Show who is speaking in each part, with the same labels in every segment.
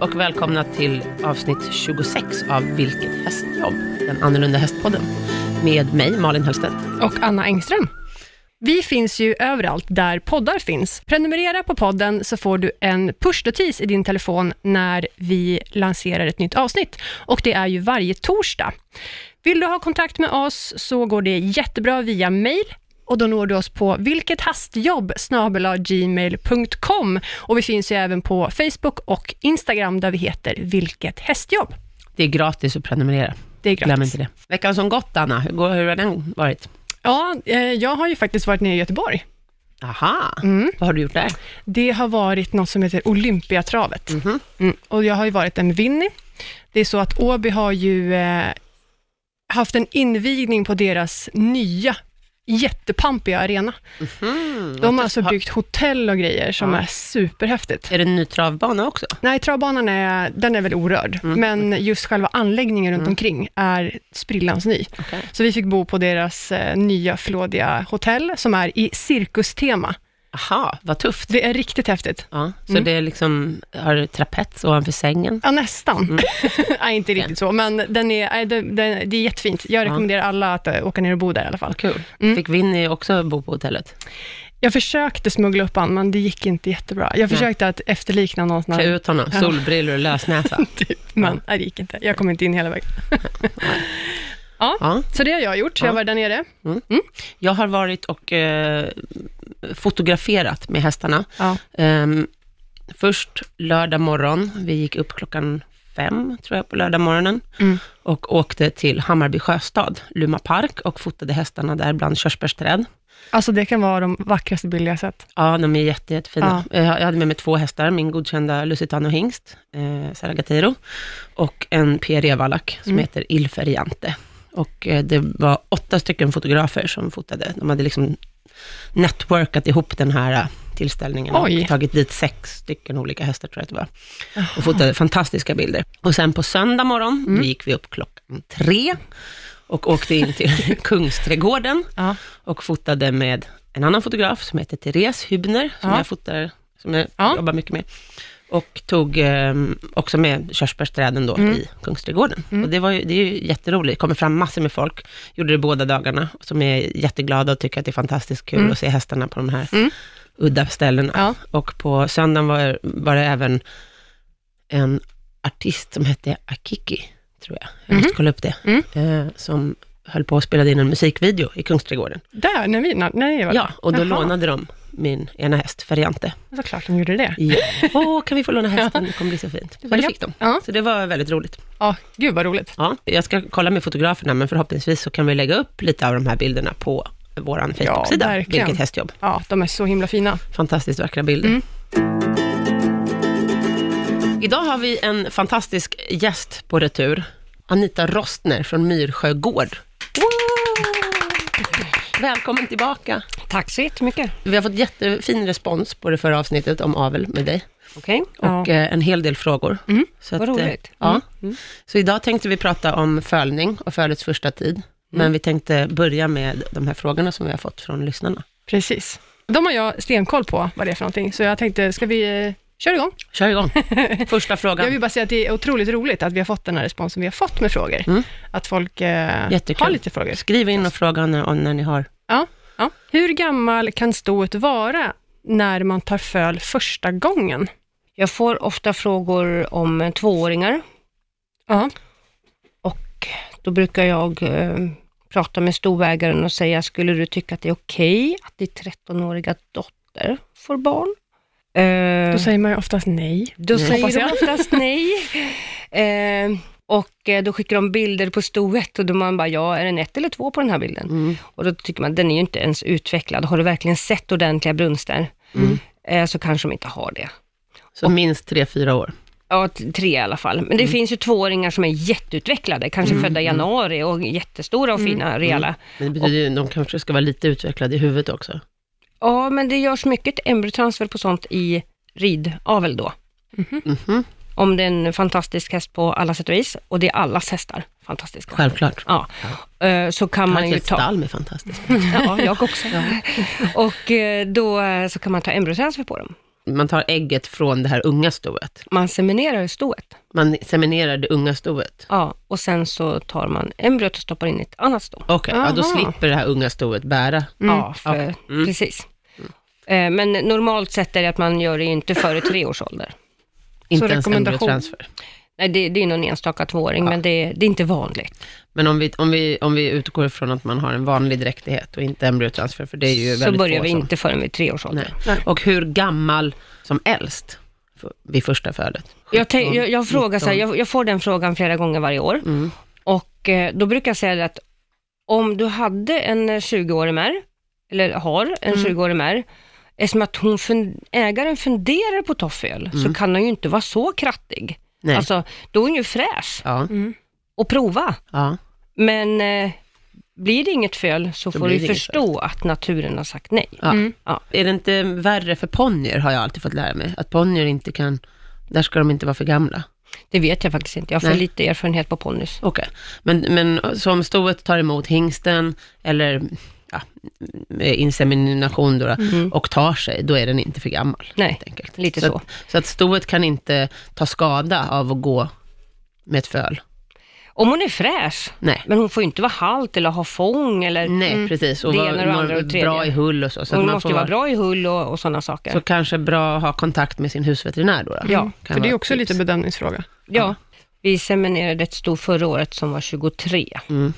Speaker 1: och välkomna till avsnitt 26 av Vilket hästjobb? Den annorlunda hästpodden. Med mig, Malin Hellstedt.
Speaker 2: och Anna Engström. Vi finns ju överallt där poddar finns. Prenumerera på podden så får du en pushnotis i din telefon när vi lanserar ett nytt avsnitt och det är ju varje torsdag. Vill du ha kontakt med oss så går det jättebra via mail och då når du oss på vilkethastjobb gmail.com och vi finns ju även på Facebook och Instagram där vi heter Vilket hästjobb.
Speaker 1: Det är gratis att prenumerera.
Speaker 2: Det är
Speaker 1: Glöm
Speaker 2: gratis.
Speaker 1: inte det. Veckan som gått, Anna, hur, går, hur har den varit?
Speaker 2: Ja, eh, jag har ju faktiskt varit nere i Göteborg.
Speaker 1: Aha, vad har du gjort där?
Speaker 2: Det har varit något som heter Olympiatravet.
Speaker 1: Mhm.
Speaker 2: Mm. Och jag har ju varit en Winnie. Det är så att Åby har ju eh, haft en invigning på deras nya jättepampiga arena.
Speaker 1: Mhm.
Speaker 2: De har alltså byggt hotell och grejer som
Speaker 1: Ja.
Speaker 2: är superhäftigt.
Speaker 1: Är det en ny travbana också?
Speaker 2: Nej, travbanan är, den är väl orörd,
Speaker 1: Mm,
Speaker 2: men just själva anläggningen runt omkring är sprillans ny.
Speaker 1: Okej.
Speaker 2: Så vi fick bo på deras eh, nya flådiga hotell som är i cirkustema.
Speaker 1: Aha, vad tufft.
Speaker 2: Det är riktigt häftigt.
Speaker 1: Ja, så det är liksom, har du trapets ovanför sängen?
Speaker 2: Ja, nästan. Nej, inte riktigt så, men den är, nej, den, den, det är jättefint. Jag rekommenderar alla att eh, åka ner och bo där i alla fall.
Speaker 1: Kul. Fick Winnie också bo på hotellet?
Speaker 2: Jag försökte smuggla upp han, men det gick inte jättebra. Jag försökte att efterlikna någon sån
Speaker 1: Klä
Speaker 2: här,
Speaker 1: ut honom, solbrillor och lösnäsa.
Speaker 2: men nej, det gick inte. Jag kom inte in hela vägen. ja,
Speaker 1: Ja.
Speaker 2: så det har jag gjort.
Speaker 1: Ja.
Speaker 2: Jag var där nere.
Speaker 1: Jag har varit och eh, fotograferat med hästarna.
Speaker 2: Ja.
Speaker 1: Ehm, först lördag morgon, vi gick upp klockan fem, tror jag, på lördag morgonen
Speaker 2: Mm.
Speaker 1: och åkte till Hammarby sjöstad, Luma park och fotade hästarna där bland körsbärsträd.
Speaker 2: Alltså det kan vara de vackraste bilder jag sett.
Speaker 1: Ja, de är jätte, jättefina. Eh, Jag hade med mig två hästar, min godkända Lusitano hingst, eh, Saragateiro, och en PRE valack som heter Il Feriante. Och eh, det var åtta stycken fotografer som fotade. De hade liksom networkat ihop den här eh, tillställningen
Speaker 2: Oj.
Speaker 1: och tagit dit sex stycken olika hästar, tror jag att det var. Och fotade fantastiska bilder. Och sen på söndag morgon, då gick vi upp klockan tre och åkte in till Kungsträdgården
Speaker 2: Ja.
Speaker 1: och fotade med en annan fotograf som heter Therese Hübner, som
Speaker 2: Ja.
Speaker 1: jag fotar, som jag
Speaker 2: Ja.
Speaker 1: jobbar mycket med. Och tog eh, också med körsbärsträden då
Speaker 2: Mm.
Speaker 1: i Kungsträdgården. Och det, var ju, det är ju jätteroligt, det kommer fram massor med folk, gjorde det båda dagarna, som är jätteglada och tycker att det är fantastiskt kul att se hästarna på de här udda ställena.
Speaker 2: Mm. Ja.
Speaker 1: Och på söndagen var, var det även en artist som hette Akiki, tror jag. Jag
Speaker 2: Mm.
Speaker 1: måste kolla upp det. Eh, som höll på att spela in en musikvideo i Kungsträdgården.
Speaker 2: Där, när vi, när, när jag var
Speaker 1: Ja, och då
Speaker 2: Jaha.
Speaker 1: lånade de min ena häst, Feriante.
Speaker 2: där. Såklart de gjorde det.
Speaker 1: Ja. Åh, kan vi få låna hästen? Det kommer bli så fint. Och det
Speaker 2: Ja.
Speaker 1: fick de.
Speaker 2: Ja.
Speaker 1: Så det var väldigt roligt.
Speaker 2: ja, gud vad roligt.
Speaker 1: Ja, jag ska kolla med fotograferna, men förhoppningsvis så kan vi lägga upp lite av de här bilderna på vår
Speaker 2: Ja,
Speaker 1: Facebook-sida.
Speaker 2: verkligen. Mm.
Speaker 1: Vilket hästjobb.
Speaker 2: Ja, de är så himla fina.
Speaker 1: Fantastiskt vackra bilder. Idag har vi en fantastisk gäst på retur. Anita Rostner från Myrsjö gård. Woo! Välkommen tillbaka.
Speaker 3: Tack så jättemycket.
Speaker 1: Vi har fått jättefin respons på det förra avsnittet om avel med dig
Speaker 3: Okej.
Speaker 1: och
Speaker 2: Ja.
Speaker 1: eh, en hel del frågor. Så
Speaker 3: vad
Speaker 1: att, eh,
Speaker 3: roligt.
Speaker 1: Ja. Så idag tänkte vi prata om fölning och fölets första tid, men vi tänkte börja med de här frågorna som vi har fått från lyssnarna.
Speaker 2: Precis. De har jag stenkoll på vad det är för någonting, så jag tänkte, ska vi eh, köra igång?
Speaker 1: Kör igång. Första
Speaker 2: Jag
Speaker 1: frågan.
Speaker 2: vill bara säga att det är otroligt roligt att vi har fått den här responsen vi har fått med frågor. Att folk eh,
Speaker 1: Mm. Jättekul.
Speaker 2: har lite frågor.
Speaker 1: Skriv in och fråga när, om när ni har.
Speaker 2: Ja, ja. Hur gammal kan stoet vara när man tar föl första gången?
Speaker 3: Jag får ofta frågor om eh, tvååringar
Speaker 2: Ja,
Speaker 3: och då brukar jag eh, prata med stovägaren och säga, skulle du tycka att det är okej att din 13-åriga dotter får barn? Eh,
Speaker 1: Mm.
Speaker 2: då säger man ju oftast nej.
Speaker 3: då säger
Speaker 2: Hoppas
Speaker 3: de
Speaker 2: jag.
Speaker 3: oftast nej. Eh, och eh, då skickar de bilder på stoet och då man bara, ja, är den ett eller två på den här bilden? Och då tycker man, den är ju inte ens utvecklad. Har du verkligen sett ordentliga brunster?
Speaker 2: Mm.
Speaker 3: Eh, så kanske de inte har det.
Speaker 1: Så minst tre, fyra år.
Speaker 3: Ja, t- tre i alla fall. Men det finns ju tvååringar som är jätteutvecklade, kanske födda i januari och jättestora och fina, rejäla.
Speaker 1: Men det betyder ju, de kanske ska vara lite utvecklade i huvudet också.
Speaker 3: Ja, men det görs mycket embryotransfer på sånt i ridavel då.
Speaker 1: Mhm.
Speaker 3: Om det är en fantastisk häst på alla sätt och vis, och det är allas hästar fantastiska.
Speaker 1: Självklart.
Speaker 3: Ja, eh, så kan
Speaker 1: Man
Speaker 3: man ju
Speaker 1: ett
Speaker 3: ta...
Speaker 1: stall med fantastiskt.
Speaker 3: Ja, jag också. och eh, då eh, så kan man ta embryotransfer på dem.
Speaker 1: man tar ägget från det här unga stoet.
Speaker 3: Man seminerar stoet.
Speaker 1: Man seminerar det unga stoet.
Speaker 3: Ja, och sen så tar man embryot och stoppar in i ett annat sto.
Speaker 1: Okej, ja, då
Speaker 2: Aha.
Speaker 1: slipper det här unga stoet bära.
Speaker 3: Ja, för,
Speaker 1: Okej. Mm.
Speaker 3: precis. Eh, Men normalt sett är det att man gör det ju inte före tre års ålder.
Speaker 1: Inte ens
Speaker 2: rekommendation.
Speaker 1: embryotransfer.
Speaker 3: Nej, det, det är någon enstaka tvååring, men det, det är inte vanligt.
Speaker 1: Men om vi, om, vi, om vi utgår ifrån att man har en vanlig dräktighet och inte embryotransfer, för det är ju
Speaker 3: Så
Speaker 1: väldigt
Speaker 3: börjar
Speaker 1: få
Speaker 3: vi
Speaker 1: som...
Speaker 3: inte förrän vid tre års ålder.
Speaker 1: Nej. Och hur gammal som äldst för- vid första födet?
Speaker 3: Jag, tän-
Speaker 1: 17,
Speaker 3: jag, jag, frågar så här,
Speaker 1: 19.
Speaker 3: jag, jag får den frågan flera gånger varje år.
Speaker 1: Mm.
Speaker 3: Och eh, då brukar jag säga det att om du hade en eh, 20-årig mär, eller har en
Speaker 1: Mm.
Speaker 3: 20-årig mär, eftersom att hon fun- ägaren funderar på toffel, så kan hon ju inte vara så krattig.
Speaker 1: Mm. Nej.
Speaker 3: Alltså, då är hon ju fräsch
Speaker 1: Ja,
Speaker 3: och prova.
Speaker 1: ja.
Speaker 3: Men eh, blir det inget fel så
Speaker 1: Då
Speaker 3: får
Speaker 1: blir det
Speaker 3: du ju
Speaker 1: inget
Speaker 3: förstå att naturen har sagt nej.
Speaker 1: Ja.
Speaker 3: Ja.
Speaker 1: Är det inte värre för ponnyer, har jag alltid fått lära mig. Att ponnyer inte kan, där ska de inte vara för gamla.
Speaker 3: Det vet jag faktiskt inte, jag har för
Speaker 1: Nej.
Speaker 3: lite erfarenhet på ponnys.
Speaker 1: Okej, men, men som stoet tar emot hingsten eller ja, eh, insemination då, då, och tar sig, då är den inte för gammal.
Speaker 3: Mm. Nej,
Speaker 1: helt enkelt.
Speaker 3: lite så.
Speaker 1: Att, så att stoet kan inte ta skada av att gå med ett föl.
Speaker 3: Om hon är fräsch,
Speaker 1: Nej.
Speaker 3: men hon får ju inte vara halt eller ha fång eller
Speaker 1: Nej, precis. Och
Speaker 3: Mm. Det
Speaker 1: vara
Speaker 3: ena och det
Speaker 1: må-
Speaker 3: andra och det tredje.
Speaker 1: bra i hull och så. så att
Speaker 3: hon
Speaker 1: man
Speaker 3: måste
Speaker 1: får
Speaker 3: ju vara bra i hull och, och sådana saker.
Speaker 1: Så kanske bra att ha kontakt med sin husveterinär då. då.
Speaker 3: Ja,
Speaker 1: Kan
Speaker 2: För det är
Speaker 1: vara
Speaker 2: också
Speaker 1: ett tips.
Speaker 2: lite bedömningsfråga.
Speaker 3: ja. Vi seminerade ett stort förra året som var 23.
Speaker 1: Mm.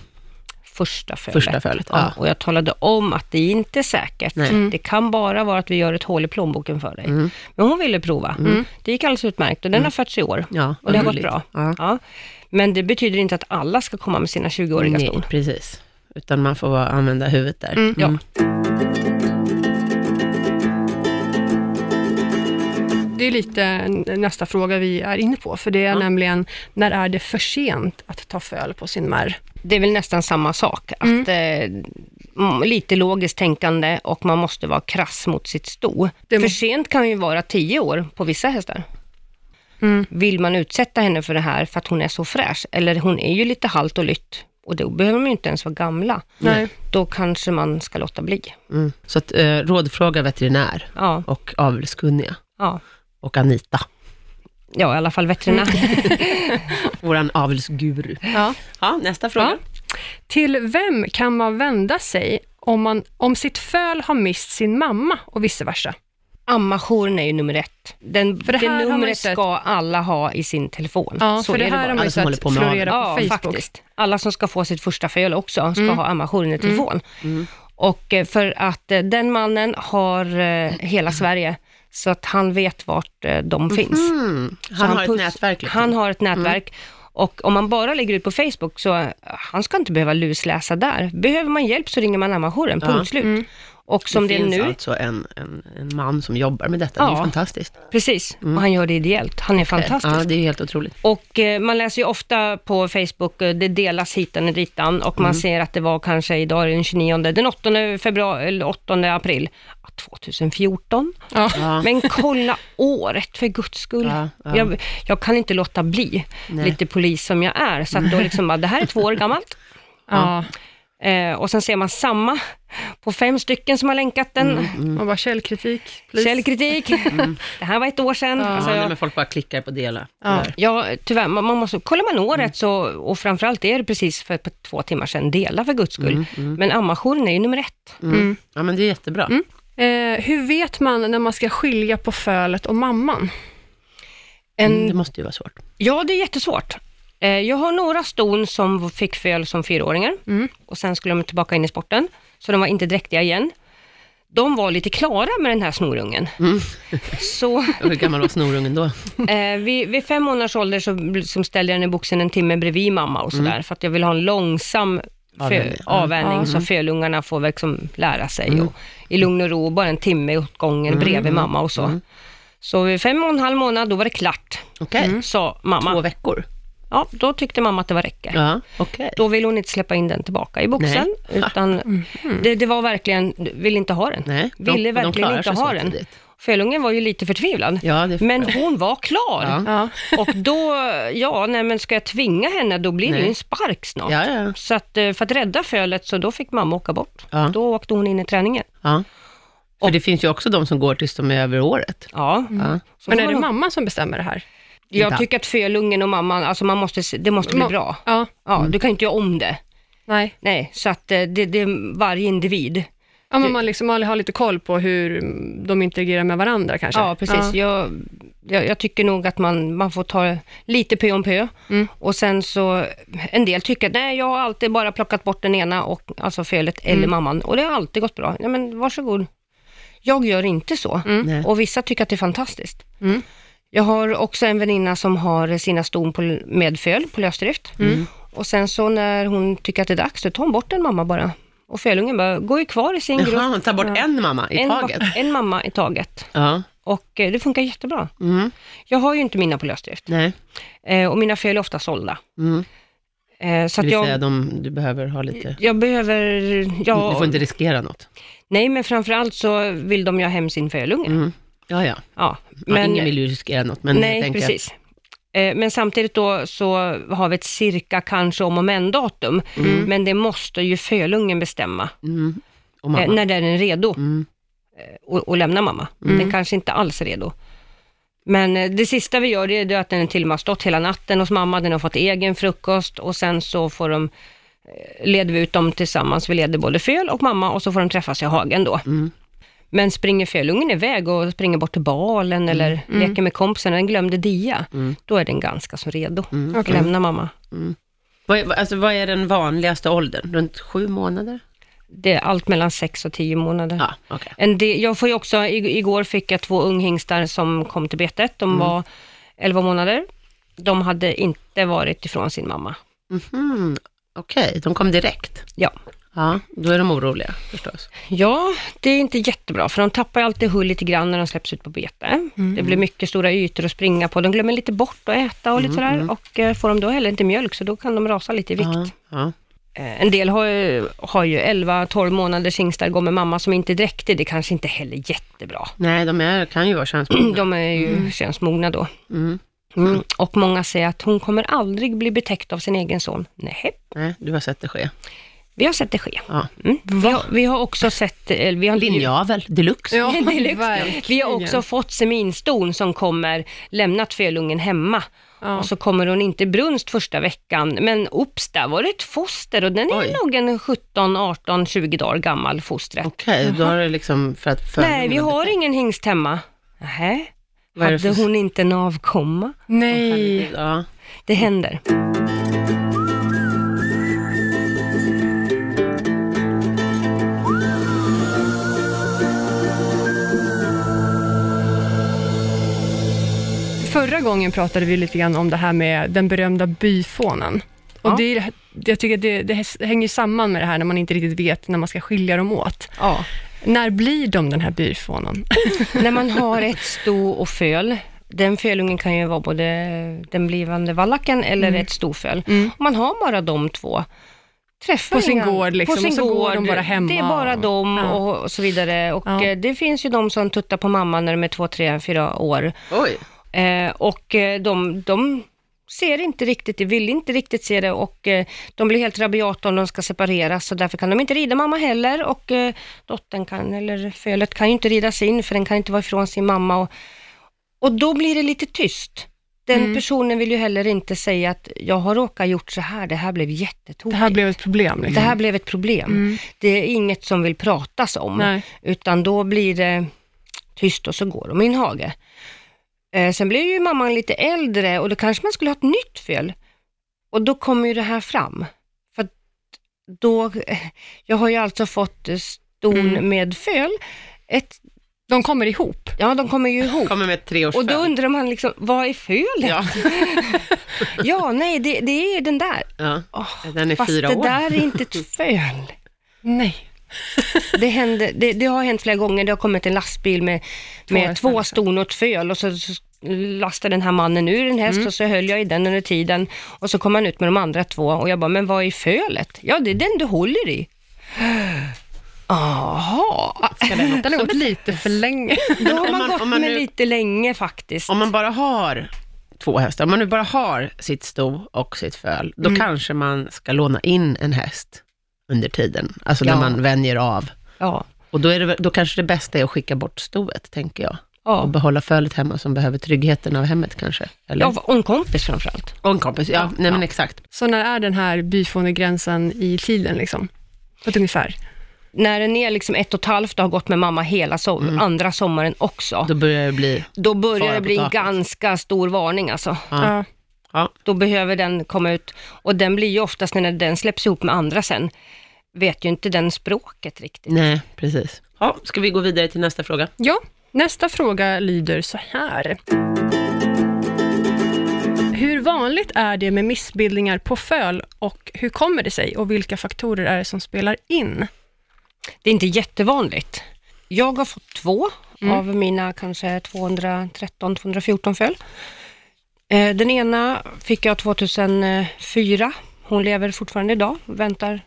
Speaker 3: Första fölet.
Speaker 1: Första fölet, ja.
Speaker 3: Och jag talade om att det är inte säkert.
Speaker 1: Nej.
Speaker 3: Mm.
Speaker 1: Mm.
Speaker 3: Det kan bara vara att vi gör ett hål i plånboken för dig. Men hon ville prova. Mm. Det gick alldeles utmärkt och den har fötts i år.
Speaker 1: Mm. Ja,
Speaker 3: och det har gått
Speaker 1: gulligt.
Speaker 3: bra.
Speaker 1: Ja.
Speaker 3: Men det betyder inte att alla ska komma med sina 20-åriga
Speaker 1: Nej, Mm.
Speaker 3: ston.
Speaker 1: precis. Utan man får bara använda huvudet där.
Speaker 2: Mm,
Speaker 3: ja.
Speaker 2: Det är lite n- nästa fråga vi är inne på, för det är nämligen, när är det för sent att ta föl på sin märr?
Speaker 3: Det är väl nästan samma sak. Att,
Speaker 2: Mm.
Speaker 3: eh, mm, lite logiskt tänkande och man måste vara krass mot sitt sto.
Speaker 2: Det må-
Speaker 3: För sent kan ju vara 10 år på vissa hästar.
Speaker 2: Mm.
Speaker 3: Vill man utsätta henne för det här för att hon är så fräsch? Eller hon är ju lite halt och lytt och då behöver man ju inte ens vara gamla.
Speaker 2: Nej.
Speaker 3: Då kanske man ska låta bli.
Speaker 1: Mm. Så att, eh, rådfråga veterinär
Speaker 3: Ja,
Speaker 1: och avelskunniga
Speaker 3: ja.
Speaker 1: och Anita,
Speaker 3: ja i alla fall
Speaker 2: Mm.
Speaker 3: veterinär.
Speaker 1: vår avelsguru.
Speaker 2: Ja.
Speaker 1: Ja, nästa fråga.
Speaker 2: Ja. Till vem kan man vända sig om, man, om sitt föl har mist sin mamma och vice versa?
Speaker 3: Ammajouren är ju nummer ett. Den,
Speaker 2: För det här
Speaker 3: det,
Speaker 2: har man ju
Speaker 3: numret
Speaker 2: sett-
Speaker 3: ska alla ha i sin telefon.
Speaker 2: Ja,
Speaker 3: så
Speaker 2: för det
Speaker 3: är det
Speaker 2: här
Speaker 3: bara.
Speaker 2: har man ju
Speaker 1: Alla som håller
Speaker 2: sett
Speaker 1: på med
Speaker 2: florera på
Speaker 3: Ja,
Speaker 2: Facebook.
Speaker 3: faktiskt. Alla som ska få sitt första föl också ska
Speaker 1: Mm.
Speaker 3: ha ammajouren i telefon. Och eh, för att eh, den mannen har eh, hela Sverige, så att han vet vart eh, de finns.
Speaker 1: Mm. Han,
Speaker 3: Så
Speaker 1: har ett
Speaker 3: puss-
Speaker 1: nätverk. Liksom.
Speaker 3: Han har ett nätverk. Och om man bara lägger ut på Facebook, så eh, han ska inte behöva lusläsa där. Behöver man hjälp så ringer man ammajouren,
Speaker 1: Ja. Mm.
Speaker 3: punkt slut. Och som det, är
Speaker 1: finns
Speaker 3: nu,
Speaker 1: alltså en, en, en man som jobbar med detta. Det är ju
Speaker 3: Ja.
Speaker 1: fantastiskt.
Speaker 3: precis, och han gör det ideellt. Han är fantastisk.
Speaker 1: Mm. Ja, det är helt otroligt.
Speaker 3: Och eh, man läser ju ofta på Facebook, eh, det delas hitan och ditan och
Speaker 1: Mm.
Speaker 3: man ser att det var kanske idag är det den 29, den 8 februari, eller 8 april, ja, 2014.
Speaker 2: Ja.
Speaker 1: Ja.
Speaker 3: Men kolla året för guds skull.
Speaker 1: Ja, ja.
Speaker 3: Jag, jag kan inte låta bli,
Speaker 1: Nej.
Speaker 3: lite polis som jag är, så att då liksom bara, det här är två år gammalt.
Speaker 2: Ja.
Speaker 3: Eh, och sen ser man samma på fem stycken som har länkat den.
Speaker 1: Mm,
Speaker 2: Man bara källkritik, please.
Speaker 3: Källkritik, det här var ett år sedan. Alltså,
Speaker 1: ja,
Speaker 3: jag-
Speaker 1: nej, men folk bara klickar på dela.
Speaker 2: Ja.
Speaker 1: Där.
Speaker 3: Ja, tyvärr. Man, man måste, kollar man året så, och framförallt är det precis för på två timmar sedan, dela för guds skull. Men ammajouren är ju nummer ett.
Speaker 1: Mm. Ja, men det är jättebra.
Speaker 3: Mm.
Speaker 1: Mm,
Speaker 2: Eh, hur vet man när man ska skilja på fölet och mamman?
Speaker 3: En,
Speaker 1: Mm, Det måste ju vara svårt.
Speaker 3: Ja, det är jättesvårt. Eh, Jag har några ston som fick föl som fyraåringar
Speaker 2: Mm.
Speaker 3: och sen skulle de tillbaka in i sporten, så de var inte dräktiga igen. De var lite klara med den här snorungen. så
Speaker 1: Hur gammal var snorungen då?
Speaker 3: Eh, vid, vid fem månaders ålder så bl- som ställde jag den i boxen en timme bredvid mamma och
Speaker 1: Mm.
Speaker 3: sådär, för att jag vill ha en långsam
Speaker 1: Avvänjning.
Speaker 3: fö- avvänjning, så fölungarna får liksom lära sig
Speaker 1: Mm.
Speaker 3: och, i lugn och ro, bara en timme åt gången bredvid mamma och så.
Speaker 1: Mm.
Speaker 3: Så vid fem och en halv månad, då var det klart,
Speaker 1: Okej,
Speaker 3: sa
Speaker 1: Mm. två
Speaker 3: mamma.
Speaker 1: veckor.
Speaker 3: Ja, då tyckte mamma att det var räcker.
Speaker 1: Ja, okej.
Speaker 3: Då vill hon inte släppa in den tillbaka i boxen, utan det, det var verkligen, vill inte ha den.
Speaker 1: Mm. Nej, de-
Speaker 3: Ville
Speaker 1: de
Speaker 3: verkligen
Speaker 1: klarar
Speaker 3: inte
Speaker 1: sig så
Speaker 3: ha den.
Speaker 1: tidigt.
Speaker 3: Fölungen var ju lite förtvivlad,
Speaker 1: Ja, det-
Speaker 3: men hon var klar.
Speaker 1: Ja.
Speaker 2: Ja.
Speaker 3: Och då, ja, nej men ska jag tvinga henne, då blir det ju
Speaker 1: Nej.
Speaker 3: en spark snart.
Speaker 1: Ja, ja.
Speaker 3: Så att, eh, för att rädda fölet, så då fick mamma åka bort.
Speaker 1: Ja.
Speaker 3: Då åkte hon in i träningen.
Speaker 1: Ja. För det finns ju också de som går tills de är över året.
Speaker 3: Ja.
Speaker 1: Ja.
Speaker 3: Så
Speaker 2: Mm. Men
Speaker 3: får
Speaker 2: är det
Speaker 3: man-
Speaker 2: mamma som bestämmer det här?
Speaker 1: Ibland.
Speaker 3: jag tycker att fölungen och mamman, alltså man måste, se- det måste bli
Speaker 2: Ma-
Speaker 3: bra.
Speaker 2: Ja,
Speaker 3: Ja,
Speaker 1: Mm.
Speaker 3: Du kan ju inte göra om det.
Speaker 2: nej.
Speaker 3: Nej, så att eh, det, det är varje individ.
Speaker 2: Ja, men man liksom har lite koll på hur de interagerar med varandra kanske.
Speaker 3: Ja, precis. Jag, jag, jag tycker nog att man, man får ta lite pö om pö. Och sen så, en del tycker att nej, jag har alltid bara plockat bort den ena, och, alltså fölet eller mamman, och det har alltid gått bra. Ja, men varsågod. Jag gör inte så.
Speaker 1: Nej.
Speaker 3: Och vissa tycker att det är fantastiskt.
Speaker 2: Mm.
Speaker 3: Jag har också en väninna som har sina ston på, med föl på lösdrift.
Speaker 1: Mm.
Speaker 3: Och sen så när hon tycker att det är dags, så tar hon bort en mamma bara. Och fölungen bara, går ju kvar i sin grupp.
Speaker 1: Jaha, man tar bort en mamma i
Speaker 3: En, ma-
Speaker 1: taget.
Speaker 3: en mamma i taget.
Speaker 1: Ja.
Speaker 3: Och eh, det funkar jättebra.
Speaker 1: Mm.
Speaker 3: Jag har ju inte mina på lösdrift
Speaker 1: Nej.
Speaker 3: eh, och mina föl är ofta sålda.
Speaker 1: Mm.
Speaker 3: Eh, så
Speaker 1: Det
Speaker 3: att
Speaker 1: vill säga,
Speaker 3: jag,
Speaker 1: de, du behöver ha lite...
Speaker 3: jag behöver,
Speaker 1: Du
Speaker 3: ja,
Speaker 1: får inte riskera något.
Speaker 3: nej men framförallt så vill de ju ha hem sin fölunge.
Speaker 1: Mm. Ja, ja.
Speaker 3: Ja,
Speaker 1: ja
Speaker 3: men,
Speaker 1: ingen vill ju riskera något, men jag
Speaker 3: nej
Speaker 1: tänker att-
Speaker 3: precis. Eh, men samtidigt då så har vi ett cirka kanske om och men datum, men det måste ju fölungen bestämma
Speaker 1: Mm. Och
Speaker 3: eh,
Speaker 1: mamma.
Speaker 3: när den är redo
Speaker 1: Mm.
Speaker 3: och, och lämna mamma. Den kanske inte alls är redo. Men eh, det sista vi gör det är det att den till och med har stått hela natten hos mamma, den har fått egen frukost och sen så får de, eh, leder vi ut dem tillsammans, vi leder både föl och mamma och så får de träffas i hagen då.
Speaker 1: mm,
Speaker 3: Men springer fölungen iväg och springer bort till balen eller leker med kompisen, den glömde dia, då är den ganska så redo
Speaker 1: Mm.
Speaker 3: att
Speaker 2: Okej.
Speaker 3: lämna mamma.
Speaker 1: Vad, är, alltså, vad är den vanligaste åldern? Runt sju månader?
Speaker 3: Det är allt mellan 6 och 10 månader.
Speaker 1: Ja, okej.
Speaker 3: En del, jag får ju också, ig- igår fick jag två unghingstar som kom till betet. De var 11 månader. De hade inte varit ifrån sin mamma.
Speaker 1: Mhm. Okej, de kom direkt.
Speaker 3: Ja.
Speaker 1: Ja, då är de oroliga förstås.
Speaker 3: ja, det är inte jättebra, för de tappar ju alltid hull lite grann när de släpps ut på bete. Det blir mycket stora ytor att springa på. De glömmer lite bort att äta och lite sådär. Och eh, får de då heller inte mjölk, så då kan de rasa lite i vikt.
Speaker 1: Ja, ja.
Speaker 3: Eh, En del har ju, har ju 11-12 månaders hingstar, går med mamma som inte är dräktig. Det kanske inte heller är jättebra.
Speaker 1: Nej, de är, kan ju vara könsbundna.
Speaker 3: De är ju könsmogna då.
Speaker 1: Mm.
Speaker 3: Mm. Och många säger att hon kommer aldrig bli betäckt av sin egen son. Nej,
Speaker 1: Nej, du har sett det ske.
Speaker 3: vi har sett det ske.
Speaker 1: Ja.
Speaker 3: Mm. Vi, har, vi har också sett, eller vi har, inte-
Speaker 1: Linjavel deluxe.
Speaker 2: Ja,
Speaker 3: Det är lyx.
Speaker 2: verkligen.
Speaker 3: vi har också fått seminston som kommer, lämnat fölungen hemma.
Speaker 2: Ja.
Speaker 3: Och så kommer hon inte i brunst första veckan, men ops, där var det ett foster och den är
Speaker 1: Oj.
Speaker 3: nog en 17, 18, 20 dagar gammal fostret.
Speaker 1: Okej, då har det liksom för att för
Speaker 3: Nej, vi har ingen hingst hemma. Nähä,
Speaker 1: Vad är det
Speaker 3: hade
Speaker 1: för-
Speaker 3: hon inte en avkomma?
Speaker 2: Nej.
Speaker 1: Ja.
Speaker 3: Det händer.
Speaker 2: Förra gången pratade vi lite grann om det här med den berömda byfånen. Och
Speaker 3: Ja.
Speaker 2: det, är- jag tycker att det, det hänger ju samman med det här när man inte riktigt vet när man ska skilja dem åt.
Speaker 3: Ja.
Speaker 2: När blir de den här byfånen?
Speaker 3: När man har ett sto och föl, den fölungen kan ju vara både den blivande vallacken eller ett stoföl.
Speaker 2: Mm.
Speaker 3: Om man har bara de två, träffar
Speaker 2: På sin
Speaker 3: inga-
Speaker 2: gård liksom, och så går de bara hemma
Speaker 3: Det är bara
Speaker 2: och-
Speaker 3: de
Speaker 2: Ja.
Speaker 3: och, och så vidare. Och
Speaker 2: Ja.
Speaker 3: eh, det finns ju de som tuttar på mamma när de är två, tre, fyra år.
Speaker 1: Oj.
Speaker 3: Eh, och eh, de, de ser inte riktigt det, vill inte riktigt se det och eh, de blir helt rabiata om de ska separeras så därför kan de inte rida mamma heller och eh, dottern kan, eller fölet kan ju inte rida sin för den kan inte vara ifrån sin mamma och, och då blir det lite tyst. Den
Speaker 2: Mm.
Speaker 3: personen vill ju heller inte säga att jag har råkat gjort så här, det här blev
Speaker 2: Det
Speaker 3: jättetokigt.
Speaker 2: här blev Mm. ett problem. Liksom.
Speaker 3: Det här blev ett problem. Det är inget som vill pratas om.
Speaker 2: Nej.
Speaker 3: Utan då blir det tyst och så går de i en hage. Eh, sen blir ju mamman lite äldre och då kanske man skulle ha ett nytt fel. Och då kommer ju det här fram. För att då, jag har ju alltså fått eh, ston
Speaker 2: Mm.
Speaker 3: med föl. Ett,
Speaker 2: De kommer ihop.
Speaker 3: ja, de kommer ju ihop.
Speaker 1: Kommer med ett
Speaker 3: Oh. Och
Speaker 1: treårsföl.
Speaker 3: då undrar man liksom, vad är fölet? Ja,
Speaker 1: Ja.
Speaker 3: nej, det, det är den där.
Speaker 1: ja.
Speaker 3: Åh,
Speaker 1: Den är
Speaker 3: Fast
Speaker 1: fyra
Speaker 3: det
Speaker 1: år.
Speaker 3: där är inte ett föl.
Speaker 2: Nej.
Speaker 3: Det, hände, det, det har hänt flera gånger, det har kommit en lastbil med två, med
Speaker 2: hästar,
Speaker 3: två
Speaker 2: liksom.
Speaker 3: ston och ett föl och så, så lastade den här mannen ur en häst
Speaker 1: Mm.
Speaker 3: och så höll jag i den under tiden och så kom han ut med de andra två och jag bara, men vad är fölet? Ja, det är den du håller i. Jaha,
Speaker 2: Den har gått lite för länge.
Speaker 3: då har
Speaker 1: om
Speaker 3: man,
Speaker 1: man-
Speaker 3: gått
Speaker 1: om man
Speaker 3: med
Speaker 1: nu-
Speaker 3: lite länge faktiskt.
Speaker 1: Om man bara har två hästar, om man nu bara har sitt sto och sitt föl, då
Speaker 3: Mm.
Speaker 1: kanske man ska låna in en häst under tiden, alltså
Speaker 3: Ja.
Speaker 1: när man vänjer av.
Speaker 3: Ja.
Speaker 1: Och då, är det, väl- då kanske det bästa är att skicka bort stoet, tänker jag. Och
Speaker 3: Ja.
Speaker 1: behålla fölet hemma som behöver tryggheten av hemmet kanske. Eller?
Speaker 3: Ja, och en kompis framförallt.
Speaker 1: och en kompis. Ja, nej men exakt.
Speaker 2: Så när är den här byfånegränsen i tiden? Liksom? På ett ungefär.
Speaker 3: När den är liksom ett och ett halvt och har gått med mamma hela so- andra sommaren också,
Speaker 1: Mm. Då börjar det bli...
Speaker 3: då börjar
Speaker 1: Fara
Speaker 3: det
Speaker 1: på
Speaker 3: bli
Speaker 1: taket.
Speaker 3: ganska stor varning alltså.
Speaker 1: Ja.
Speaker 2: Ja.
Speaker 1: Ja.
Speaker 3: Då behöver den komma ut och den blir ju oftast när den släpps ihop med andra sen, vet ju inte den språket riktigt.
Speaker 1: Nej, precis. Ja, ska vi gå vidare till nästa fråga?
Speaker 2: ja. Nästa fråga lyder så här. Hur vanligt är det med missbildningar på föl och hur kommer det sig och vilka faktorer är det som spelar in?
Speaker 3: Det är inte jättevanligt. Jag har fått två av mina kanske 213-214 föl. Eh, Den ena fick jag 2004. Hon lever fortfarande idag, väntar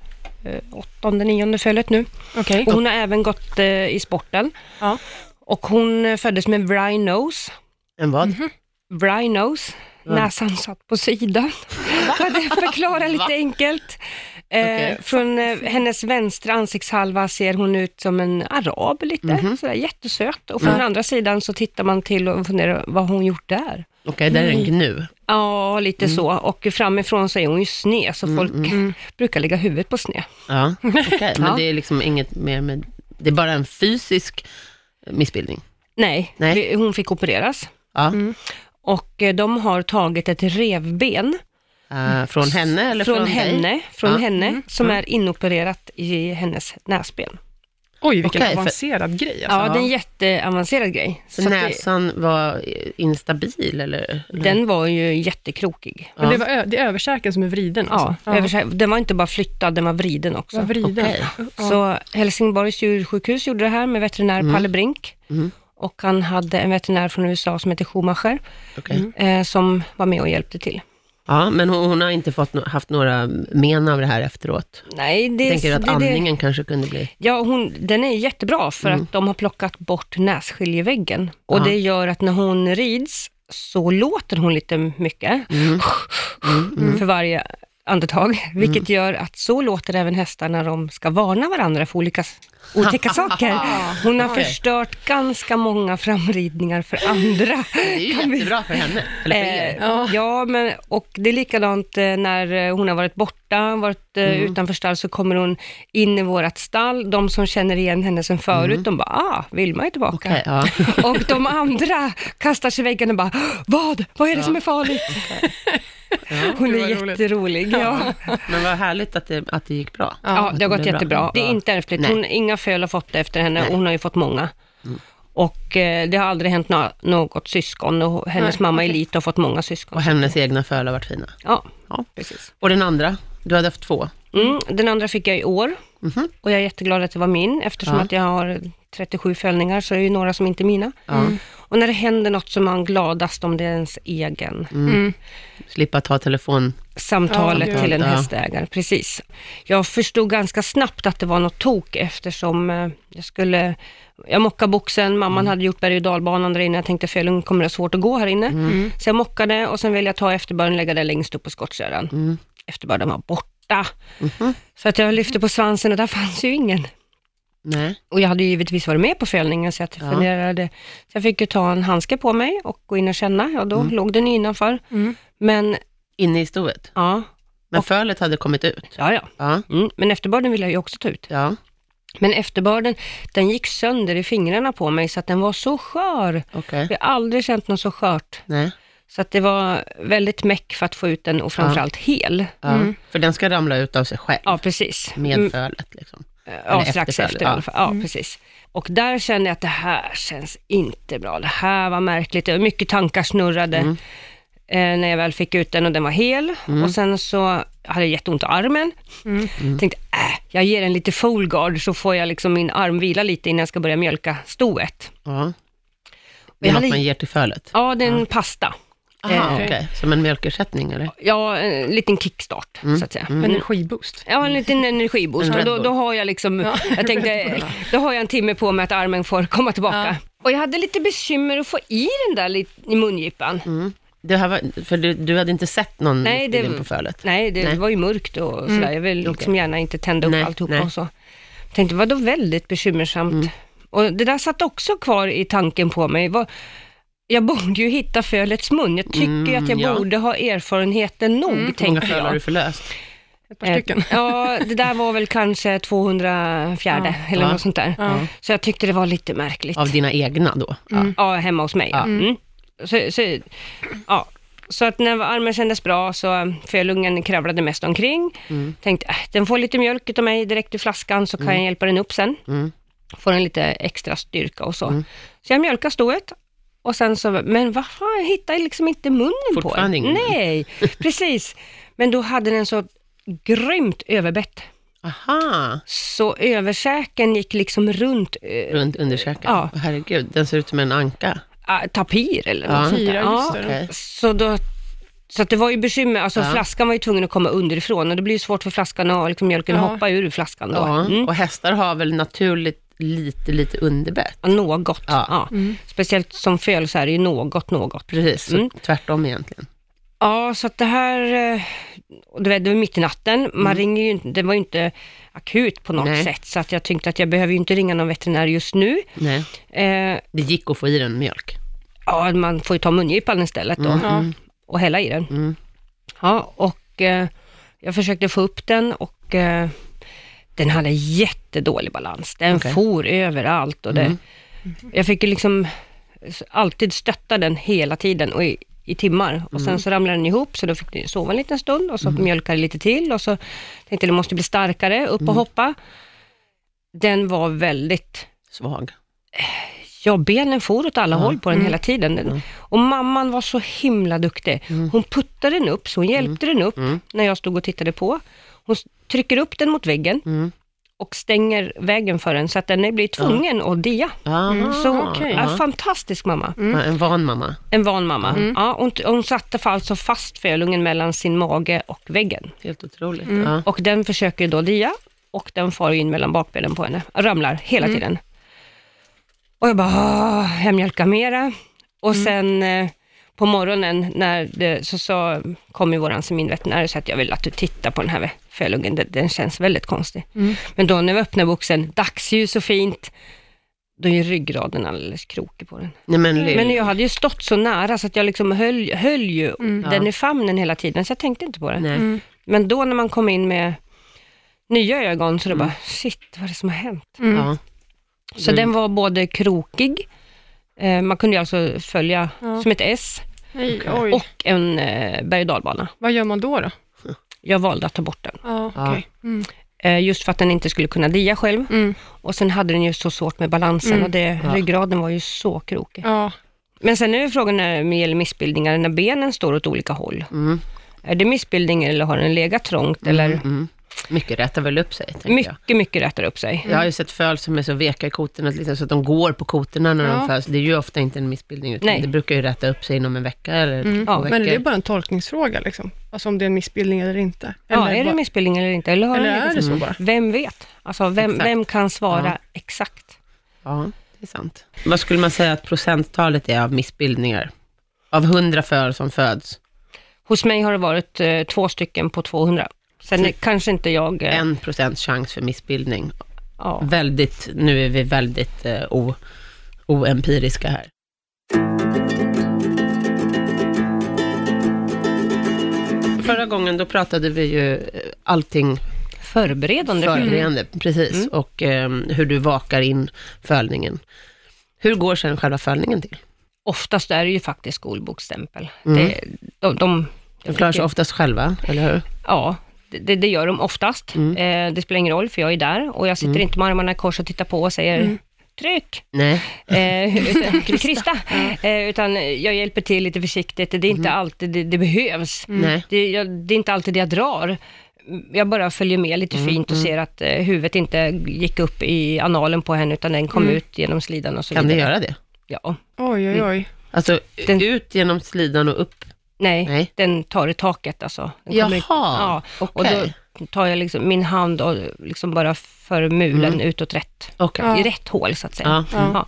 Speaker 3: eh, åttonde, nionde fölet nu.
Speaker 2: Okej.
Speaker 3: Och hon har även gått eh, i sporten.
Speaker 2: Ja.
Speaker 3: Och hon eh, föddes med wry nose.
Speaker 1: En vad?
Speaker 3: Mhm. Wry nose. Näsan satt på sidan. För att förklara lite enkelt. Eh,
Speaker 1: Okej.
Speaker 3: Från eh, hennes vänstra ansiktshalva ser hon ut som en arab lite,
Speaker 1: Mhm.
Speaker 3: sådär jättesöt. Och från andra sidan så tittar man till och funderar, vad har hon gjort där?
Speaker 1: Okej, där är en gnu.
Speaker 3: Ja, lite
Speaker 1: Mm.
Speaker 3: så. Och framifrån så är hon ju sned, så folk brukar lägga huvudet på sned.
Speaker 1: Ja, okej.
Speaker 3: Ja.
Speaker 1: Men det är liksom inget mer med... Det är bara en fysisk eh, missbildning.
Speaker 3: Nej,
Speaker 1: Nej.
Speaker 3: Vi, hon fick opereras.
Speaker 1: Ja.
Speaker 3: Mm. Och eh, de har tagit ett revben
Speaker 1: Eh, från henne eller från,
Speaker 3: från
Speaker 1: Dig?
Speaker 3: henne, från
Speaker 1: Ja. Mm-hmm. Mm.
Speaker 3: henne som är inopererat i hennes näsben.
Speaker 2: Oj, vilken
Speaker 1: Okej, för-
Speaker 2: avancerad grej. Alltså.
Speaker 3: Ja, det är en jätteavancerad grej.
Speaker 1: Så,
Speaker 3: Så att det,
Speaker 1: näsan var instabil eller?
Speaker 3: den var ju jättekrokig.
Speaker 2: Men det, var ö- det är översäken som är vriden.
Speaker 1: Mm.
Speaker 3: Ja,
Speaker 2: Alltså.
Speaker 3: översä- Den var inte bara flyttad, den var vriden också.
Speaker 2: Vad vriden.
Speaker 1: Okej.
Speaker 3: Så Helsingborgs djursjukhus gjorde det här med veterinär
Speaker 1: Mm.
Speaker 3: Palle Brink. Och han hade en veterinär från USA som heter Schumacher,
Speaker 1: Okej.
Speaker 3: eh, som var med och hjälpte till.
Speaker 1: Ja, men hon, hon har inte fått, no- haft några men av det här efteråt.
Speaker 3: Nej, det,
Speaker 1: Jag tänker att
Speaker 3: det, det,
Speaker 1: andningen kanske kunde bli...
Speaker 3: Ja, hon, den är jättebra för
Speaker 1: Mm.
Speaker 3: att de har plockat bort nässkiljeväggen. Och det gör att när hon rids så låter hon lite mycket
Speaker 1: Mm.
Speaker 3: för varje andetag, vilket gör att så låter även hästar när de ska varna varandra för olika s- otäcka saker. Hon har
Speaker 1: Okej.
Speaker 3: förstört ganska många framridningar för andra.
Speaker 1: Det är ju jättebra för henne, eller för er.
Speaker 3: Eh, ja. men, och det är likadant eh, när eh, hon har varit borta, varit eh, utanför stall, så kommer hon in i vårt stall. De som känner igen henne sen förut, de bara, ah, Vilma är tillbaka.
Speaker 1: Okej, ja.
Speaker 3: Och de andra kastar sig i väggen och bara, vad? Vad är det som är farligt? Hon är
Speaker 2: Gud, vad roligt.
Speaker 3: jätterolig. Ja.
Speaker 1: Men vad härligt att det, att det gick bra.
Speaker 3: Ja, det har gått
Speaker 1: blev bra.
Speaker 3: jättebra. Det är
Speaker 1: Bra.
Speaker 3: inte ärftligt.
Speaker 1: Nej.
Speaker 3: Hon, inga föl har fått det efter henne och hon har ju fått många. Och eh, det har aldrig hänt nå- något syskon och hennes
Speaker 2: Nej,
Speaker 3: mamma
Speaker 2: okej.
Speaker 3: Elita har fått många syskon.
Speaker 1: Och hennes egna föl har varit fina.
Speaker 3: Ja,
Speaker 1: Ja.
Speaker 3: precis.
Speaker 1: Och den andra, du hade haft två.
Speaker 3: Mm, den andra fick jag i år och jag är jätteglad att det var min eftersom
Speaker 1: Ja.
Speaker 3: att jag har 37 fällningar så är det ju några som inte är mina. Och när det händer något så är man gladast om det är ens egen
Speaker 1: Slippa ta telefon.
Speaker 3: samtalet
Speaker 2: Ja,
Speaker 3: till en
Speaker 1: ja.
Speaker 3: hästägare. Precis. Jag förstod ganska snabbt att det var något tok eftersom eh, jag skulle, jag mockade boxen, mamman hade gjort berg och dalbanan där inne, jag tänkte Felung kommer det ha svårt att gå här inne. Så jag mockade och sen ville jag ta efterbörden och lägga det längst upp på skottkärran. Efterbörden var borta. Så att jag lyfte på svansen och där fanns ju ingen.
Speaker 1: Nej.
Speaker 3: Och jag hade ju givetvis varit med på fällningen så jag funderade, så jag fick ju ta en handske på mig och gå in och känna, ja då låg den ju innanför.
Speaker 2: Mm.
Speaker 3: Men
Speaker 1: Inne i stoet.
Speaker 3: ja,
Speaker 1: Men fölet hade kommit ut.
Speaker 3: ja ja.
Speaker 1: Ja,
Speaker 3: Mm, men efterbörden ville jag ju också ta ut.
Speaker 1: ja.
Speaker 3: Men efterbörden, den gick sönder i fingrarna på mig så att den var så skör.
Speaker 1: okej.
Speaker 3: Jag har aldrig känt något så skört.
Speaker 1: Nej.
Speaker 3: Så att det var väldigt meck för att få ut den och framförallt hel.
Speaker 1: Ja. Mm. För den ska ramla ut av sig själv.
Speaker 3: Ja, precis. Mm,
Speaker 1: Med fölet liksom.
Speaker 3: ja,
Speaker 1: eller
Speaker 3: strax
Speaker 1: efterföljd,
Speaker 3: efter i
Speaker 1: ja. Mm.
Speaker 3: alla fall. Ja, precis. Och där kände jag att det här känns inte bra. Det här var märkligt. Det var Mycket tankar snurrade
Speaker 1: Mm.
Speaker 3: eh, när jag väl fick ut den och den var hel. Och sen så hade jag jätteont i armen.
Speaker 1: Mm.
Speaker 3: Tänkte, äh, jag ger den lite full guard så får jag liksom min arm vila lite innan jag ska börja mjölka stoet.
Speaker 1: Ja. Det
Speaker 3: Jag
Speaker 1: är
Speaker 3: hade-
Speaker 1: något man ger till fölet.
Speaker 3: Ja, det är en pasta.
Speaker 1: Aha,
Speaker 2: Ah, okej.
Speaker 1: okej. Som en mjölkersättning eller?
Speaker 3: Ja, en liten kickstart
Speaker 1: Mm.
Speaker 3: så att säga.
Speaker 2: Energiboost.
Speaker 3: Ja, en liten energiboost.
Speaker 1: En
Speaker 3: Och
Speaker 1: Red
Speaker 3: då,
Speaker 1: Bull.
Speaker 3: då har jag liksom, jag tänkte, då har jag en timme på mig att armen får komma tillbaka. Och jag hade lite bekymmer att få i den där lit- i mungipan.
Speaker 1: Mm. Det här var, för du, du hade inte sett någon
Speaker 3: Nej,
Speaker 1: Nej,
Speaker 3: det-
Speaker 1: på fölet?
Speaker 3: Nej, det
Speaker 1: Nej. Mm.
Speaker 3: var ju mörkt och sådär. Jag vill liksom gärna inte tända upp
Speaker 1: Nej, Mm.
Speaker 3: alltihopa
Speaker 1: nej.
Speaker 3: och så. Tänkte, vadå väldigt bekymmersamt? Och det där satt också kvar i tanken på mig. Vad, jag borde ju hitta fölets mun. Jag tycker ju att
Speaker 1: Mm,
Speaker 3: jag
Speaker 1: ja.
Speaker 3: borde ha erfarenheten nog,
Speaker 1: Hur många
Speaker 3: tänkte
Speaker 1: föl har
Speaker 3: jag.
Speaker 1: du förlöst?
Speaker 2: Ett par stycken.
Speaker 3: Eh, Ja, det där var väl kanske 204 eller
Speaker 1: Ja.
Speaker 3: något sånt där.
Speaker 2: Ja.
Speaker 3: Så jag tyckte det var lite märkligt.
Speaker 1: Av dina egna då? Ja.
Speaker 3: Ja, hemma hos mig.
Speaker 1: Ja.
Speaker 3: Mm. Så, så, ja. så att när armen kändes bra så fölungen kravlade mest omkring.
Speaker 1: Mm.
Speaker 3: Tänkte, äh, den får lite mjölk utav mig direkt ur flaskan så kan jag hjälpa den upp sen.
Speaker 1: Mm.
Speaker 3: Får den lite extra styrka och så. Så jag mjölkade stoet. Och sen så, men vad fan, jag hittar liksom inte munnen på den.
Speaker 1: Fortfarande ingen mun.
Speaker 3: Nej, precis. Men då hade den så grymt överbett.
Speaker 1: Aha,
Speaker 3: Så översäken gick liksom runt eh,
Speaker 1: runt underkäken.
Speaker 3: Ja.
Speaker 1: Herregud, den ser ut som en anka.
Speaker 3: ah, tapir eller något
Speaker 1: Ja.
Speaker 3: sånt där.
Speaker 2: Tapir, ja, just det.
Speaker 1: Okej.
Speaker 3: Så, då, så att det var ju bekymmer, alltså
Speaker 1: Ja.
Speaker 3: flaskan var ju tvungen att komma underifrån och det blir ju svårt för flaskan att liksom mjölken
Speaker 2: Ja.
Speaker 3: hoppa ur flaskan då.
Speaker 1: Ja.
Speaker 3: Mm.
Speaker 1: Och hästar har väl naturligt lite, lite underbett?
Speaker 3: Något, ja.
Speaker 1: Ja.
Speaker 2: Mm.
Speaker 3: Speciellt som föl så är det ju något, något.
Speaker 1: Precis, så
Speaker 3: Mm.
Speaker 1: tvärtom egentligen.
Speaker 3: Ja, så att det här, eh, och du vet, det var mitt i natten, man ringer ju inte, det var ju inte akut på något
Speaker 1: Mm. Nej.
Speaker 3: sätt, så att jag tänkte att jag behöver ju inte ringa någon veterinär just nu.
Speaker 1: Nej.
Speaker 3: Eh,
Speaker 1: Det gick att få i den mjölk.
Speaker 3: ja, man får ju ta mungipan istället då.
Speaker 1: Mm.
Speaker 2: Ja.
Speaker 3: och hälla i den. Ja, och eh, jag försökte få upp den och eh, den hade jättedålig balans. Den
Speaker 1: Okej.
Speaker 3: for överallt och det, jag fick ju liksom s- alltid stötta den hela tiden och i, i timmar. Och sen så ramlade den ihop, så då fick den sova en liten stund och så mjölkade det lite till och så tänkte jag, den måste bli starkare, upp och hoppa. Den var väldigt
Speaker 1: Svag.
Speaker 3: Ja, Mm. benen for åt alla håll på den hela tiden. Den- Och mamman var så himla duktig. Hon puttade den upp, så hon hjälpte den upp när jag stod och tittade på. Hon s- trycker upp den mot väggen
Speaker 1: Mm.
Speaker 3: och stänger vägen för den, så att den blir tvungen att dia.
Speaker 1: Aha.
Speaker 3: Så
Speaker 2: okej.
Speaker 3: Mm. Ah, ja, Mm. fantastisk mamma.
Speaker 1: Ja, en van mamma.
Speaker 3: En van mamma. Ja, hon, t- hon satte fa- alltså fast fölungen mellan sin mage och väggen.
Speaker 1: Helt otroligt. Ja.
Speaker 3: Och den försöker då dia och den far in mellan bakbenen på henne. Ramlar hela tiden. Och jag bara, "Åh, jag mjölkar mera. Och sen eh, på morgonen när det, så, så kom ju våran seminveterinär och sa att jag vill att du tittar på den här fölungen, den, den känns väldigt konstig. Men då när vi öppnar boxen, dagsljus och fint, då är ju ryggraden alldeles krokig på den.
Speaker 1: Nej, men, Lill.
Speaker 3: Men jag hade ju stått så nära så att jag liksom höll, höll ju den i famnen hela tiden, så jag tänkte inte på det.
Speaker 2: Mm.
Speaker 1: Nej.
Speaker 3: Men då när man kom in med nya ögon så det
Speaker 2: Mm.
Speaker 3: bara, shit, vad är det som har hänt?
Speaker 1: Ja.
Speaker 3: Så den var både krokig, eh, man kunde ju alltså följa som ett S,
Speaker 2: Nej, oj.
Speaker 3: och en eh, berg och dalbana.
Speaker 2: Vad gör man då? då?
Speaker 3: Jag valde att ta bort den,
Speaker 2: Ja,
Speaker 1: Ja.
Speaker 2: okej. Mm.
Speaker 3: eh, just för att den inte skulle kunna dia själv.
Speaker 2: Mm.
Speaker 3: Och sen hade den ju så svårt med balansen och det,
Speaker 1: Ja.
Speaker 3: ryggraden var ju så krokig.
Speaker 2: Ja.
Speaker 3: Men sen är ju frågan när det gäller missbildningar, när benen står åt olika håll.
Speaker 1: Mm.
Speaker 3: Är det missbildning eller har den legat trångt? Eller?
Speaker 1: Mm. Mycket rättar väl upp sig, tänker jag.
Speaker 3: Mycket, mycket rätar upp sig.
Speaker 2: Mm.
Speaker 1: Jag har ju sett föl som är så veka i kotorna, liksom, så att de går på kotorna när
Speaker 2: Ja.
Speaker 1: de föds. Det är ju ofta inte en missbildning, utan
Speaker 3: Nej.
Speaker 1: det brukar ju rätta upp sig inom en vecka eller två
Speaker 3: Ja,
Speaker 1: veckor.
Speaker 2: Mm. Men det är bara en tolkningsfråga, liksom. alltså om det är en missbildning eller inte.
Speaker 3: Ja,
Speaker 2: Eller
Speaker 3: är det
Speaker 2: bara-
Speaker 3: missbildning eller inte? Eller, har
Speaker 2: Eller
Speaker 3: den legat
Speaker 2: är det så
Speaker 3: trångt?
Speaker 1: Mm.
Speaker 2: bara?
Speaker 3: Vem vet? Alltså, vem,
Speaker 1: Exakt.
Speaker 3: vem kan svara
Speaker 1: Ja.
Speaker 3: exakt?
Speaker 1: Ja, det är sant. Vad skulle man säga att procenttalet är av missbildningar? Av 100 föl som föds,
Speaker 3: Hos mig har det varit eh, två stycken på 200. Sen är, kanske inte jag... Eh,
Speaker 1: Typ en procents chans för missbildning.
Speaker 3: ja.
Speaker 1: Väldigt, nu är vi väldigt eh, o, oempiriska här. Förra gången då pratade vi ju eh, allting
Speaker 3: Förberedande. Mm.
Speaker 1: förberedande, precis, och eh, hur du vakar in fölningen. Hur går sen själva fölningen till?
Speaker 3: Oftast är det ju faktiskt skolboksstämpel.
Speaker 1: Mm.
Speaker 3: Det, de, de,
Speaker 1: De klarar sig oftast själva, eller hur?
Speaker 3: Ja, det, det gör de oftast.
Speaker 1: Mm.
Speaker 3: Eh, det spelar ingen roll, för jag är där och jag sitter inte med armarna i kors och tittar på och säger
Speaker 1: Mm.
Speaker 3: tryck.
Speaker 1: Nej.
Speaker 3: Eh, utan- Krista. Eh, utan jag hjälper till lite försiktigt. Det är inte alltid det, det behövs.
Speaker 1: Mhm. Mm. Nej.
Speaker 3: Det, jag, det är inte alltid det jag drar. Jag bara följer med lite
Speaker 1: Mm,
Speaker 3: fint och ser att eh, huvudet inte gick upp i analen på henne, utan den kom ut genom slidan och så
Speaker 1: Mm. Kan det
Speaker 3: vidare.
Speaker 1: göra det?
Speaker 3: Ja.
Speaker 2: Oj, oj,
Speaker 3: Mm.
Speaker 2: oj.
Speaker 1: Alltså
Speaker 3: Den-
Speaker 1: ut genom slidan och upp?
Speaker 3: Nej,
Speaker 1: Nej.
Speaker 3: den tar i taket alltså. Den
Speaker 1: Jaha,
Speaker 3: kommer i- ja. Och
Speaker 1: okej.
Speaker 3: då tar jag liksom min hand
Speaker 1: Mm.
Speaker 3: och liksom bara för mulen utåt rätt,
Speaker 1: Okej.
Speaker 2: Ja.
Speaker 3: i rätt hål så att säga.
Speaker 1: Ja.
Speaker 2: Ja.
Speaker 3: Ja.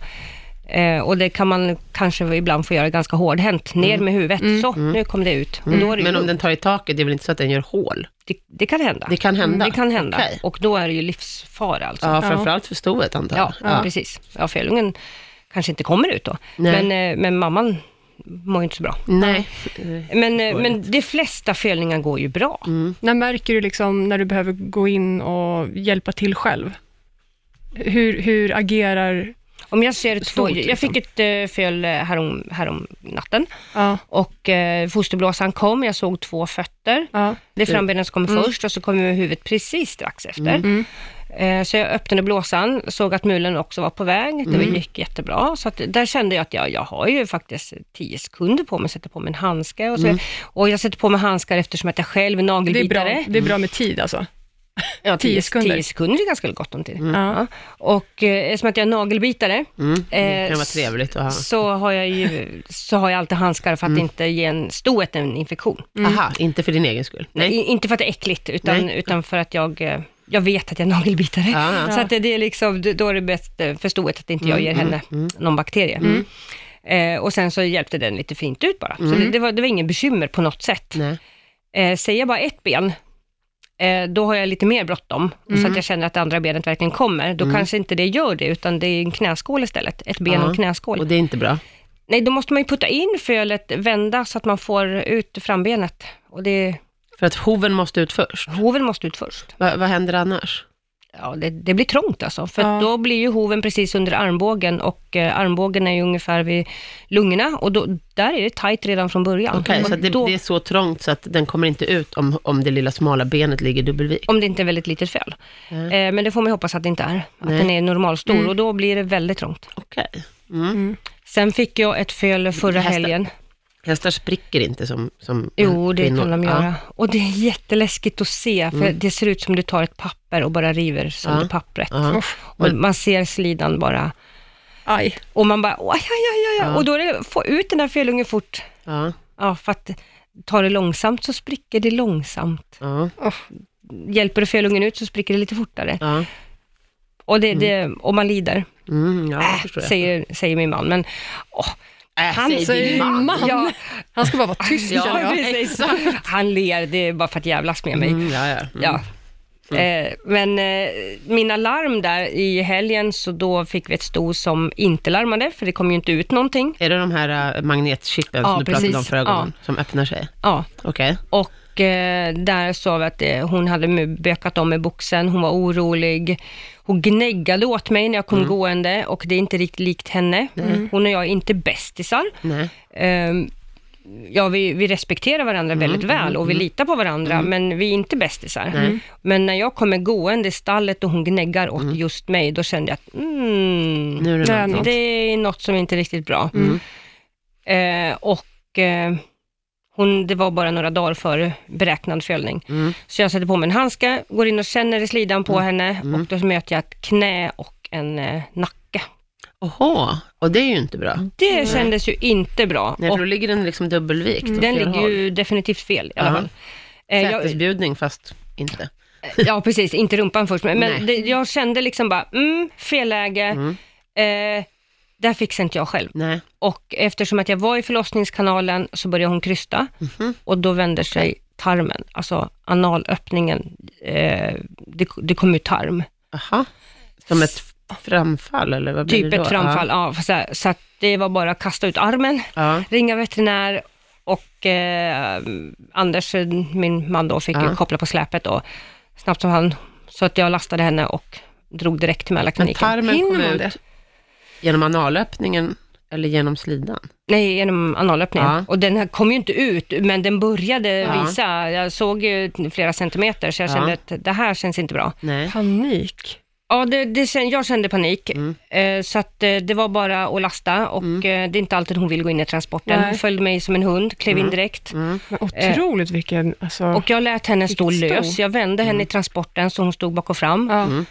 Speaker 3: Eh, och det kan man kanske ibland få göra ganska hårdhänt. Ner med huvudet, så, nu kom det ut. Och då är det, ju-
Speaker 1: Mm. Men om den tar i taket, det är väl inte så att den gör hål?
Speaker 3: det, det kan hända.
Speaker 1: Det kan hända.
Speaker 3: Mm, Det kan hända.
Speaker 1: Okej.
Speaker 3: Och då är det ju livsfara alltså.
Speaker 1: Ja,
Speaker 2: Ja.
Speaker 1: framförallt för stoet antar jag.
Speaker 3: Ja, precis. Ja, fölungen kanske inte kommer ut då.
Speaker 1: Nej.
Speaker 3: Men, eh, men mamman mår ju inte så bra.
Speaker 1: Nej.
Speaker 3: Men, eh, men de flesta fölningar går ju bra.
Speaker 1: Mm.
Speaker 2: När märker du liksom när du behöver gå in och hjälpa till själv? Hur, hur agerar...
Speaker 3: Om jag ser två,
Speaker 2: Stort,
Speaker 3: jag
Speaker 2: liksom.
Speaker 3: fick ett eh, föl eh, härom, härom natten
Speaker 2: Ja,
Speaker 3: och eh, fosterblåsan kom, jag såg två fötter.
Speaker 2: ja,
Speaker 3: Det
Speaker 1: Mm.
Speaker 3: är frambenen som kommer först och så kommer huvudet precis strax efter.
Speaker 1: Mm.
Speaker 3: Eh, Så jag öppnade blåsan, såg att mulen också var på väg. Det
Speaker 1: Mm.
Speaker 3: gick jättebra. Så att där kände jag att jag, jag har ju faktiskt 10 sekunder på mig att sätta på mig en handske. Och, så,
Speaker 1: Mm.
Speaker 3: och jag sätter på mig handskar eftersom att jag själv är
Speaker 2: det, är
Speaker 3: nagelbitare.
Speaker 2: bra, det är bra med tid alltså.
Speaker 3: Mm. Ja,
Speaker 2: 10 sekunder.
Speaker 3: 10 sekunder är ganska gott om tid.
Speaker 2: Ja.
Speaker 3: Ja. Och eh, eftersom att jag är nagelbitare,
Speaker 1: Mm. Det
Speaker 3: Eh,
Speaker 1: kan vara trevligt att ha. Mm.
Speaker 3: så har jag ju så har jag alltid handskar för att inte ge en stoet en infektion.
Speaker 1: Aha, inte för din egen skull. Nej.
Speaker 3: I, inte för att det är äckligt, utan,
Speaker 1: Nej.
Speaker 3: utan för att jag, eh, jag vet att jag är nagelbitare.
Speaker 1: Ja, ja. Mm,
Speaker 3: Så att det, det är liksom, då är det bäst eh, för stoet att inte jag ger henne någon bakterie. Eh, och sen så hjälpte den lite fint ut bara.
Speaker 1: Mm.
Speaker 3: Så det, det, var, det var ingen bekymmer på något sätt.
Speaker 1: Nej.
Speaker 3: Eh, säger jag bara ett ben, eh, då har jag lite mer bråttom, så
Speaker 1: Mm.
Speaker 3: att jag känner att det andra benet verkligen kommer. Då kanske inte det gör det, utan det är en knäskål istället. Ett ben och
Speaker 1: Ja.
Speaker 3: en knäskål.
Speaker 1: Och det är inte bra.
Speaker 3: Nej, då måste man ju putta in fölet, vända så att man får ut frambenet. Och det,
Speaker 1: För att hoven måste ut först.
Speaker 3: hoven måste ut först.
Speaker 1: Va, vad händer annars?
Speaker 3: Ja, det, det blir trångt alltså, för
Speaker 2: Ja.
Speaker 3: att då blir ju hoven precis under armbågen och eh, armbågen är ju ungefär vid lungorna och då, där är det tajt redan från början.
Speaker 1: Okej,
Speaker 3: Och
Speaker 1: så att det,
Speaker 3: då,
Speaker 1: det är så trångt så att den kommer inte ut om, om det lilla smala benet ligger dubbelvikt.
Speaker 3: Om det inte är väldigt litet föl.
Speaker 1: Mm.
Speaker 3: Eh, men det får man ju hoppas att det inte är, att
Speaker 1: Nej.
Speaker 3: den är normalstor och då blir det väldigt trångt.
Speaker 1: Okej. Mm.
Speaker 3: Sen fick jag ett föl förra
Speaker 1: Hästar-
Speaker 3: helgen.
Speaker 1: Hästar spricker inte som, som
Speaker 3: Jo, det
Speaker 1: kvinnor.
Speaker 3: kan de göra.
Speaker 1: Ja. Mm.
Speaker 3: Och det är jätteläskigt att se, för det ser ut som du tar ett papper och bara river sönder
Speaker 1: Ja.
Speaker 3: pappret.
Speaker 2: Mm.
Speaker 1: Ja.
Speaker 3: Och man ser slidan bara.
Speaker 2: Aj.
Speaker 3: Och man bara, "Oj, aj, aj, aj, aj.
Speaker 1: Ja.
Speaker 3: Och då är det, få ut den där fölungen fort.
Speaker 1: Ja.
Speaker 3: Ja, för att ta det långsamt så spricker det långsamt.
Speaker 1: Ja.
Speaker 3: Hjälper du fölungen ut så spricker det lite fortare.
Speaker 1: Ja.
Speaker 3: Och, det, det, och man lider,
Speaker 1: Mm, ja, det
Speaker 3: äh,
Speaker 1: förstår jag.
Speaker 3: säger, säger min man. Men åh,
Speaker 1: Äh,
Speaker 3: han
Speaker 1: säger
Speaker 2: Säger
Speaker 1: din man.
Speaker 2: man.
Speaker 3: Ja.
Speaker 2: Han ska bara vara tyst
Speaker 1: Ja,
Speaker 2: känner jag.
Speaker 3: precis. han ler, det är bara för att jävlas med mig.
Speaker 1: Mm, ja, ja. Mm.
Speaker 3: Ja. Eh, men eh, mina larm där i helgen, så då fick vi ett sto som inte larmade, för det kom ju inte ut någonting.
Speaker 1: Är det de här äh, magnetchippen
Speaker 3: Ja,
Speaker 1: som du pratade
Speaker 3: precis.
Speaker 1: om förra gången, som öppnar sig?
Speaker 3: Ja,
Speaker 1: Okej.
Speaker 3: Och eh, där sa vi att eh, hon hade mu- bökat om med boxen, hon var orolig. Hon gnäggade åt mig när jag
Speaker 1: Mm.
Speaker 3: kom gående och det är inte riktigt likt henne. Mm. Hon och jag är inte bästisar.
Speaker 1: Nej.
Speaker 3: Ehm, ja, vi, vi respekterar varandra
Speaker 1: Mm.
Speaker 3: väldigt väl och vi litar på varandra, men vi är inte bästisar. Mm. Men när jag kommer gående i stallet och hon gnäggar åt just mig, då kände jag att mm,
Speaker 1: Mm. Nu är det Mm.
Speaker 2: Nej,
Speaker 1: någonting.
Speaker 2: något.
Speaker 3: det är något som inte är riktigt bra.
Speaker 2: Mm.
Speaker 3: Eh, och eh, hon, det var bara några dagar före beräknad fällning.
Speaker 1: Mm.
Speaker 3: Så jag sätter på mig en handske, går in och känner i slidan på henne
Speaker 1: Mm.
Speaker 3: och då möter jag ett knä och en eh, nacke.
Speaker 1: Oho, och det är ju inte bra.
Speaker 3: Det kändes ju inte bra.
Speaker 1: Nej,
Speaker 3: Mm. och
Speaker 1: för då ligger den liksom dubbelvikt. åt
Speaker 3: den
Speaker 1: fel
Speaker 3: ligger
Speaker 1: håll.
Speaker 3: ju definitivt fel i alla
Speaker 1: Ja.
Speaker 3: fall. Eh, jag,
Speaker 1: Sätesbjudning, fast inte.
Speaker 3: ja, precis. Inte rumpan först, men,
Speaker 1: Nej. Mm.
Speaker 3: men det, jag kände liksom bara, mm, fel läge. Eh, där fixar inte jag själv.
Speaker 1: Nej.
Speaker 3: Och eftersom att jag var i förlossningskanalen så började hon krysta
Speaker 1: Mhm.
Speaker 3: och då vände sig tarmen, alltså analöppningen, eh, det, det kom ut tarm.
Speaker 1: Aha. Som ett f- framfall, eller vad blir
Speaker 3: Typ
Speaker 1: det då?
Speaker 3: ett framfall, ja. så, här, så att det var bara att kasta ut armen,
Speaker 1: Ja.
Speaker 3: ringa veterinär och eh, Anders, min man då, fick
Speaker 1: Ja.
Speaker 3: ju koppla på släpet då, snabbt som han, så att jag lastade henne och drog direkt till
Speaker 1: Ja. Men
Speaker 3: Mälarkliniken.
Speaker 1: tarmen
Speaker 2: Hinner
Speaker 1: kom
Speaker 2: man
Speaker 1: ut
Speaker 2: det?
Speaker 1: genom analöppningen, eller genom slidan?
Speaker 3: Nej, genom analöppningen.
Speaker 1: Ja.
Speaker 3: Och den här kom ju inte ut, men den började
Speaker 1: Ja.
Speaker 3: visa. Jag såg ju flera centimeter, så jag
Speaker 1: Ja.
Speaker 3: kände att det här känns inte bra.
Speaker 1: Nej.
Speaker 2: Panik.
Speaker 3: Ja, det, det, kän- jag kände panik, eh, så att eh, det var bara att lasta och eh, det är inte alltid hon vill gå in i transporten.
Speaker 2: Nej.
Speaker 3: Hon följde mig som en hund, klev in direkt.
Speaker 1: Mm,
Speaker 2: Men otroligt vilken... Alltså,
Speaker 3: Eh. Och jag lät henne stå
Speaker 2: Vilket sto.
Speaker 3: lös. Jag vände henne i transporten så hon stod bak och fram.
Speaker 2: ja.
Speaker 1: Mm.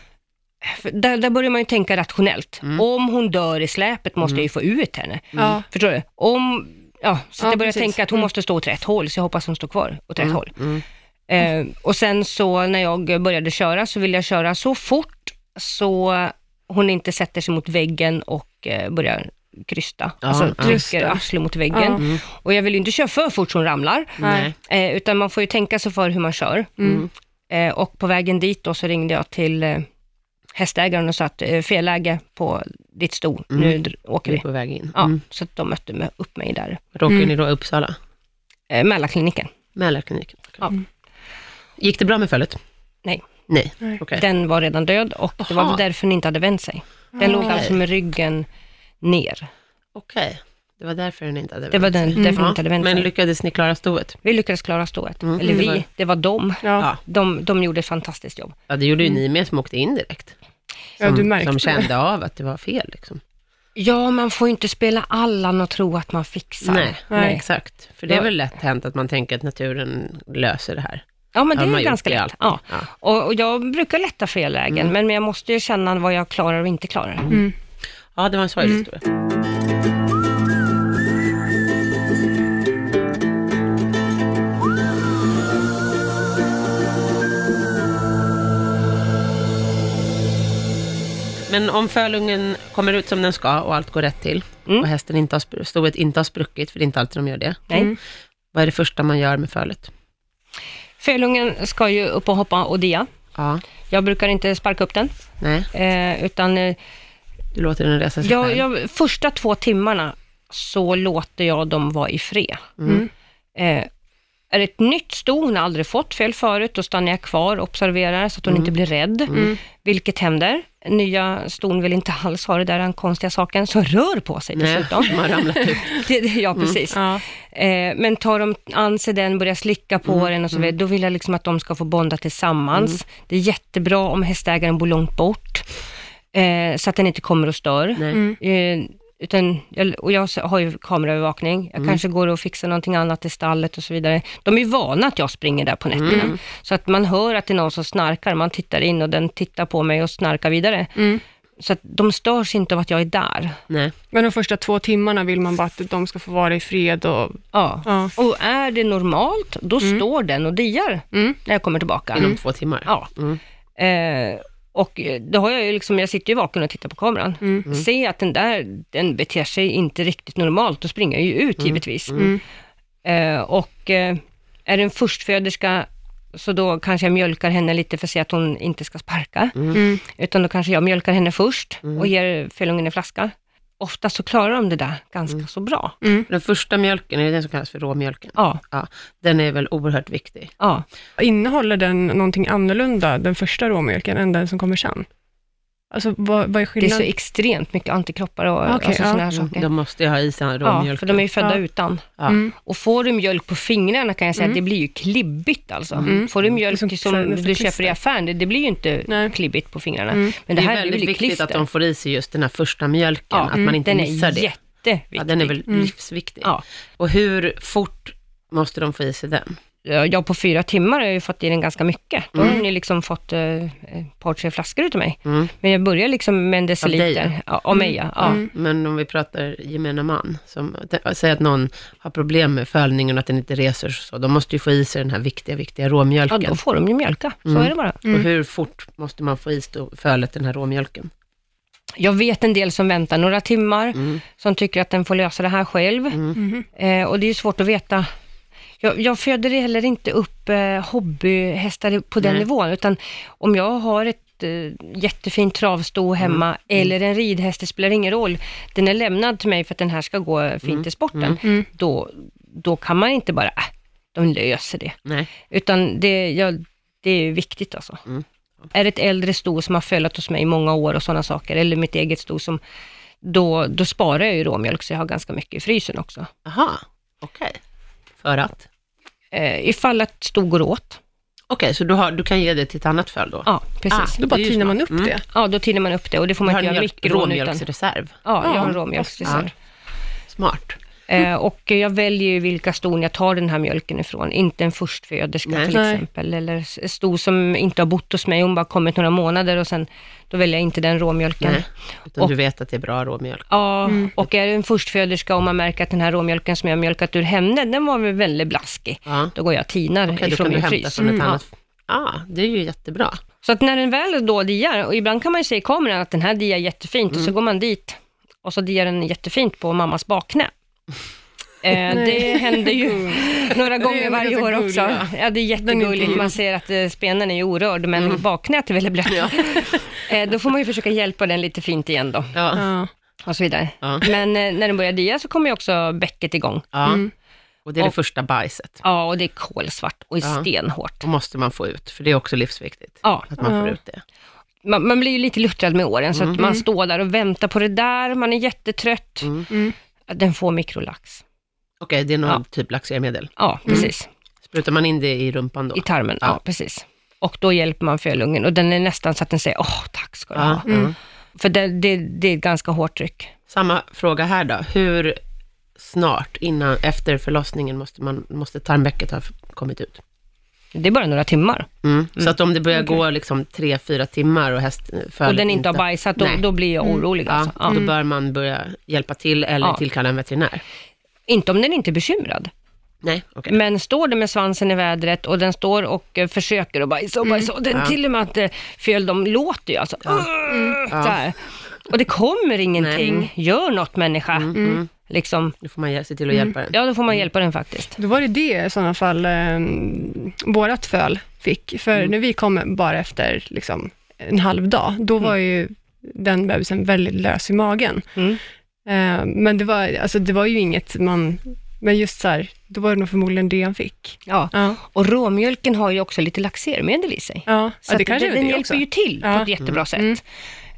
Speaker 3: För Där, där börjar man ju tänka rationellt. Om hon dör i släpet måste jag ju få ut henne.
Speaker 2: Ja.
Speaker 3: Förstår du? Om, ja, så
Speaker 2: Ja,
Speaker 3: att jag började
Speaker 2: precis.
Speaker 3: tänka att hon måste stå åt rätt håll, så jag hoppas hon står kvar åt rätt håll.
Speaker 1: mm.
Speaker 3: Eh, och sen så när jag började köra så ville jag köra så fort så hon inte sätter sig mot väggen och eh, börjar krysta.
Speaker 1: Ja,
Speaker 3: alltså
Speaker 1: ja.
Speaker 2: Just
Speaker 3: trycker
Speaker 2: det.
Speaker 3: arslet mot väggen.
Speaker 2: Ja.
Speaker 1: Mm.
Speaker 3: Och jag vill ju inte köra för fort så hon ramlar,
Speaker 1: Nej.
Speaker 3: eh, utan man får ju tänka sig för hur man kör.
Speaker 2: Mm.
Speaker 3: Eh, och på vägen dit då så ringde jag till eh, hästägaren och sa att eh, fel läge på ditt sto,
Speaker 1: Mm.
Speaker 3: nu dr- åker
Speaker 1: Vi är
Speaker 3: vi.
Speaker 1: på väg in.
Speaker 3: Ja,
Speaker 1: Mm.
Speaker 3: Så att de mötte mig, upp mig där,
Speaker 1: Råkar
Speaker 2: Mm.
Speaker 1: ni då i Uppsala?
Speaker 3: eh, Mälarkliniken.
Speaker 1: Mälarkliniken?
Speaker 3: Ja.
Speaker 1: Mm. Gick det bra med fölet?
Speaker 3: Nej.
Speaker 1: Nej,
Speaker 2: Nej.
Speaker 1: okej.
Speaker 3: Den var redan död och det var
Speaker 1: Aha.
Speaker 3: väl därför den inte hade vänt sig. Den låg
Speaker 1: Okej.
Speaker 3: alltså med ryggen ner.
Speaker 1: Okej, det var därför den inte hade
Speaker 3: Det var
Speaker 1: vänt
Speaker 3: den,
Speaker 1: sig.
Speaker 3: därför den inte hade vänt
Speaker 1: Men
Speaker 3: sig.
Speaker 1: lyckades ni klara stoet?
Speaker 3: Vi lyckades klara stået.
Speaker 1: Mm.
Speaker 3: Eller
Speaker 1: Det var-
Speaker 3: vi, det var de.
Speaker 2: Ja.
Speaker 3: De, de gjorde ett fantastiskt jobb.
Speaker 1: Ja, det gjorde ju ni med som åkte in direkt. Som,
Speaker 2: Mm. Ja, du märkte
Speaker 1: som
Speaker 2: det.
Speaker 1: kände av att det var fel. Liksom.
Speaker 3: Ja, man får ju inte spela Allan och tro att man fixar.
Speaker 1: Nej,
Speaker 2: Nej.
Speaker 1: exakt. För det är väl lätt hänt att man tänker att naturen löser det här.
Speaker 3: Ja, men det
Speaker 1: Ja, man
Speaker 3: är ju
Speaker 1: gjort
Speaker 3: ganska
Speaker 1: det
Speaker 3: lätt.
Speaker 1: alltid.
Speaker 3: Ja.
Speaker 1: Ja. Mm.
Speaker 3: Och, och jag brukar lätta fel lägen, men jag måste ju känna vad jag klarar och inte klarar.
Speaker 1: Ja, det var en sorglig
Speaker 2: Mm.
Speaker 1: historia. Men om fölungen kommer ut som den ska och allt går rätt till
Speaker 3: Mm.
Speaker 1: och hästen inte har, spr- stoet inte har spruckit, för det är inte alltid de gör det.
Speaker 3: Nej.
Speaker 1: Vad är det första man gör med fölet?
Speaker 3: Fölungen ska ju upp och hoppa och dia.
Speaker 1: Ja,
Speaker 3: Jag brukar inte sparka upp den,
Speaker 1: nej,
Speaker 3: eh, utan eh,
Speaker 1: du låter den resa sig
Speaker 3: jag,
Speaker 1: själv.
Speaker 3: jag, första två timmarna så låter jag dem vara i fred.
Speaker 2: Mm.
Speaker 3: Eh, är det ett nytt sto, hon har aldrig fått fel förut, då stannar jag kvar och observerar så att
Speaker 1: Mm.
Speaker 3: hon inte blir rädd. Vilket händer. Nya ston vill inte alls ha det där den konstiga saken, som rör på sig
Speaker 1: Nej, Mm.
Speaker 3: dessutom.
Speaker 1: de har ramlat ut.
Speaker 3: Det, det, ja, precis.
Speaker 2: Ja.
Speaker 3: Eh, men tar de an sig den, börjar slicka på den och så vidare, då vill jag liksom att de ska få bonda tillsammans. Det är jättebra om hästägaren bor långt bort, eh, så att den inte kommer och stör.
Speaker 1: Nej.
Speaker 3: Eh, utan, jag- och jag har ju kameraövervakning, jag kanske går och fixar någonting annat i stallet och så vidare. De är ju vana att jag springer där på nätterna, så att man hör att det är någon som snarkar, man tittar in och den tittar på mig och snarkar vidare.
Speaker 2: Mm.
Speaker 3: Så att de störs inte av att jag är där.
Speaker 1: Nej.
Speaker 2: Men de första två timmarna vill man bara att de ska få vara i fred och...
Speaker 3: Ja.
Speaker 2: Ja.
Speaker 3: Och är det normalt, då står den och diar
Speaker 2: Mm.
Speaker 3: när jag kommer tillbaka.
Speaker 1: inom två timmar.
Speaker 3: Ja.
Speaker 1: Mm.
Speaker 3: Eh, och eh, då har jag ju liksom, jag sitter ju vaken och tittar på kameran.
Speaker 2: Mm.
Speaker 3: Ser att den där, den beter sig inte riktigt normalt, då springer jag ju ut
Speaker 2: Mm.
Speaker 3: givetvis. Eh, och eh, är det en förstföderska, så då kanske jag mjölkar henne lite för att se att hon inte ska sparka.
Speaker 2: Mm.
Speaker 3: Utan då kanske jag mjölkar henne först och ger fölungen en flaska. Ofta så klarar de det där ganska
Speaker 2: Mm.
Speaker 3: så bra.
Speaker 1: Den första mjölken, är det den som kallas för råmjölken?
Speaker 3: Ja,
Speaker 1: Ja, den är väl oerhört viktig.
Speaker 3: ja.
Speaker 2: Innehåller den någonting annorlunda, den första råmjölken, än den som kommer sen? Alltså, vad, vad är
Speaker 3: Det är så
Speaker 2: skillnaden?
Speaker 3: extremt mycket antikroppar och
Speaker 2: Okej,
Speaker 3: alltså,
Speaker 2: ja.
Speaker 3: sådana här saker.
Speaker 1: De måste ju ha i sig
Speaker 3: Ja,
Speaker 1: råmjölken.
Speaker 3: för de är ju födda
Speaker 2: Ja.
Speaker 3: utan.
Speaker 1: ja.
Speaker 2: Mm.
Speaker 3: Och får du mjölk på fingrarna kan jag säga att det blir ju klibbigt alltså.
Speaker 2: Mm.
Speaker 3: Får du mjölk
Speaker 2: som-
Speaker 3: som,
Speaker 2: som- som
Speaker 3: du
Speaker 2: klister.
Speaker 3: köper i affären, det, det blir ju inte
Speaker 2: Liksom Nej. Mm.
Speaker 3: klibbigt på fingrarna. Men
Speaker 1: Det är
Speaker 3: det här är ju
Speaker 1: väldigt
Speaker 3: lite
Speaker 1: viktigt
Speaker 3: klister.
Speaker 1: att de får i sig just den här första mjölken,
Speaker 3: Ja, mm,
Speaker 1: att
Speaker 2: Mm.
Speaker 1: man inte
Speaker 3: den är
Speaker 1: missar det.
Speaker 3: jätteviktig. Mm.
Speaker 1: Ja, den är väl livsviktig.
Speaker 3: Ja.
Speaker 1: Och hur fort måste de få i sig den?
Speaker 3: Jag på fyra timmar har jag ju fått i den ganska mycket. Då
Speaker 2: Mm.
Speaker 3: har ni liksom fått eh, ett par, tre flaskor utav mig.
Speaker 1: Mm.
Speaker 3: Men jag börjar liksom med en
Speaker 1: dig,
Speaker 3: deciliter. Ja, av mig ja.
Speaker 2: Mm.
Speaker 3: ja.
Speaker 1: Mm. Men om vi pratar gemene man, som, säg att någon har problem med fölningen och att den inte reser sig och så, de måste ju få i sig den här viktiga, viktiga
Speaker 3: ja,
Speaker 1: råmjölken.
Speaker 3: då får de ju mjölka. Så
Speaker 1: Mm.
Speaker 3: är det bara.
Speaker 1: Och hur fort måste man få i sig fölet den här råmjölken?
Speaker 3: Jag vet en del som väntar några timmar,
Speaker 1: Mm.
Speaker 3: som tycker att den får lösa det här själv.
Speaker 2: Mhm.
Speaker 3: Eh, och det är ju svårt att veta. Jag, jag föder heller inte upp eh, hobbyhästar på den
Speaker 1: Nej.
Speaker 3: nivån, utan om jag har ett eh, jättefint travsto hemma eller en ridhäst, det spelar ingen roll. Den är lämnad till mig för att den här ska gå eh, fint i sporten. Då, då kan man inte bara, äh, de löser det.
Speaker 1: Nej.
Speaker 3: Utan det, ja, det är viktigt alltså.
Speaker 1: Mm.
Speaker 3: Är det ett äldre sto som har följt hos mig i många år och sådana saker, eller mitt eget sto, som, då, då sparar jag ju råmjölk, så jag har ganska mycket i frysen också.
Speaker 1: Aha, okej. För att?
Speaker 3: Eh, ifall att sto går åt.
Speaker 1: Okej, så du, har, du kan ge det till ett annat föl då?
Speaker 3: Ja, precis.
Speaker 1: Ah.
Speaker 2: Då bara
Speaker 1: Det är ju
Speaker 2: tinar man
Speaker 1: smart.
Speaker 2: upp
Speaker 1: Mm.
Speaker 2: det.
Speaker 3: Ja, då tillner man upp det och det får
Speaker 1: Du
Speaker 3: man
Speaker 1: har
Speaker 3: inte
Speaker 1: en
Speaker 3: göra
Speaker 1: mjölk,
Speaker 3: mikron utan.
Speaker 1: råmjölksreserv?
Speaker 3: Ja, jag har en
Speaker 2: Ja,
Speaker 1: Ah.
Speaker 3: råmjölksreserv.
Speaker 1: Smart.
Speaker 3: Eh, och jag väljer ju vilka ston jag tar den här mjölken ifrån, inte en förstföderska
Speaker 1: Nej.
Speaker 3: till
Speaker 2: Nej.
Speaker 3: exempel, eller s- sto som inte har bott hos mig, hon bara kommit några månader och sen, då väljer jag inte den råmjölken.
Speaker 1: Nej. Utan
Speaker 3: Och-
Speaker 1: du vet att det är bra råmjölk?
Speaker 3: Ja,
Speaker 1: Mm.
Speaker 3: och är det en förstföderska och man märker att den här råmjölken som jag har mjölkat ur henne, den var väl väldigt blaskig.
Speaker 1: Ja.
Speaker 3: Då går jag och tinar
Speaker 1: Okej, då
Speaker 3: ifrån
Speaker 1: kan du
Speaker 3: min
Speaker 1: hämta
Speaker 3: frys.
Speaker 1: från ett
Speaker 3: Mm,
Speaker 1: annat... Ja, ah, det är ju jättebra. Mm.
Speaker 3: Så att när den väl då diar, och ibland kan man ju se i kameran att den här diar jättefint, och så går man dit Och så diar den jättefint på mammas bakknä. Eh, det händer ju några gånger varje
Speaker 2: ganska
Speaker 3: år
Speaker 2: gullig,
Speaker 3: också.
Speaker 2: ja.
Speaker 3: Ja, det är jättegulligt. Man ser att eh, spenen är ju orörd, men
Speaker 1: Mm.
Speaker 3: bakknät är väldigt blött. Eh, Då får man ju försöka hjälpa den lite fint igen då,
Speaker 1: Ja.
Speaker 2: Ja.
Speaker 3: och så vidare.
Speaker 1: Ja.
Speaker 3: Men eh, när den börjar dia så kommer ju också bäcket igång.
Speaker 1: ja.
Speaker 2: Mm.
Speaker 1: Och det är det
Speaker 3: Och-
Speaker 1: första bajset.
Speaker 3: Ja, och det är kolsvart och
Speaker 1: Ja.
Speaker 3: stenhårt.
Speaker 1: Då måste man få ut, för det är också livsviktigt.
Speaker 3: Ja,
Speaker 1: Att man får
Speaker 2: Ja.
Speaker 1: ut det.
Speaker 3: man, man blir ju lite luttrad med åren, så att man står där och väntar på det där, man är jättetrött.
Speaker 1: Mm.
Speaker 2: Mm.
Speaker 3: Den får mikrolax.
Speaker 1: Okej, det är någon
Speaker 3: Ja.
Speaker 1: typ laxermedel.
Speaker 3: Ja, precis.
Speaker 1: Sprutar man in det i rumpan då?
Speaker 3: I tarmen, ja.
Speaker 1: Ja.
Speaker 3: precis. Och då hjälper man fölungen och den är nästan så att den säger åh, tack ska du
Speaker 1: Ja,
Speaker 3: ha.
Speaker 1: ja.
Speaker 3: För det, det, det är ett ganska hårt tryck.
Speaker 1: Samma fråga här då. Hur snart innan, efter förlossningen måste, man, måste tarmbäcket ha kommit ut?
Speaker 3: Det är bara några timmar.
Speaker 1: Mm. Så att om det börjar gå liksom tre, fyra timmar och häst
Speaker 3: och den inte har bajsat, då,
Speaker 1: Nej. Mm.
Speaker 3: då blir jag orolig.
Speaker 1: Ja,
Speaker 3: Alltså. Ja.
Speaker 1: Då bör man börja hjälpa till eller
Speaker 3: Ja.
Speaker 1: tillkalla en veterinär.
Speaker 3: Inte om den inte är bekymrad.
Speaker 1: Nej, okej.
Speaker 3: Men står den med svansen i vädret och den står och eh, försöker och bajsa
Speaker 2: Mm.
Speaker 3: och bajsa och den
Speaker 1: Ja.
Speaker 3: till och med att eh, föl, de låter ju alltså.
Speaker 2: Mm.
Speaker 3: Så här. Och det kommer ingenting. Gör något människa.
Speaker 2: Mm,
Speaker 3: Liksom.
Speaker 1: Då får man ge- se till att hjälpa den.
Speaker 3: Ja, då får man hjälpa den faktiskt.
Speaker 2: Då var det det i sådana fall eh, vårat föl fick. För när vi kom bara efter liksom, en halv dag, då var ju den bebisen väldigt lös i magen.
Speaker 3: Mm.
Speaker 2: Eh, men det var, alltså, det var ju inget man... Men just så här, då var det nog förmodligen det han fick.
Speaker 3: Ja.
Speaker 2: Ja,
Speaker 3: Och råmjölken har ju också lite laxermedel i sig.
Speaker 2: ja.
Speaker 3: Så
Speaker 2: ja det
Speaker 3: att
Speaker 2: kanske
Speaker 3: den,
Speaker 2: är
Speaker 3: den
Speaker 2: det
Speaker 3: hjälper
Speaker 2: också.
Speaker 3: ju till
Speaker 2: Ja. Mm.
Speaker 3: på ett jättebra sätt.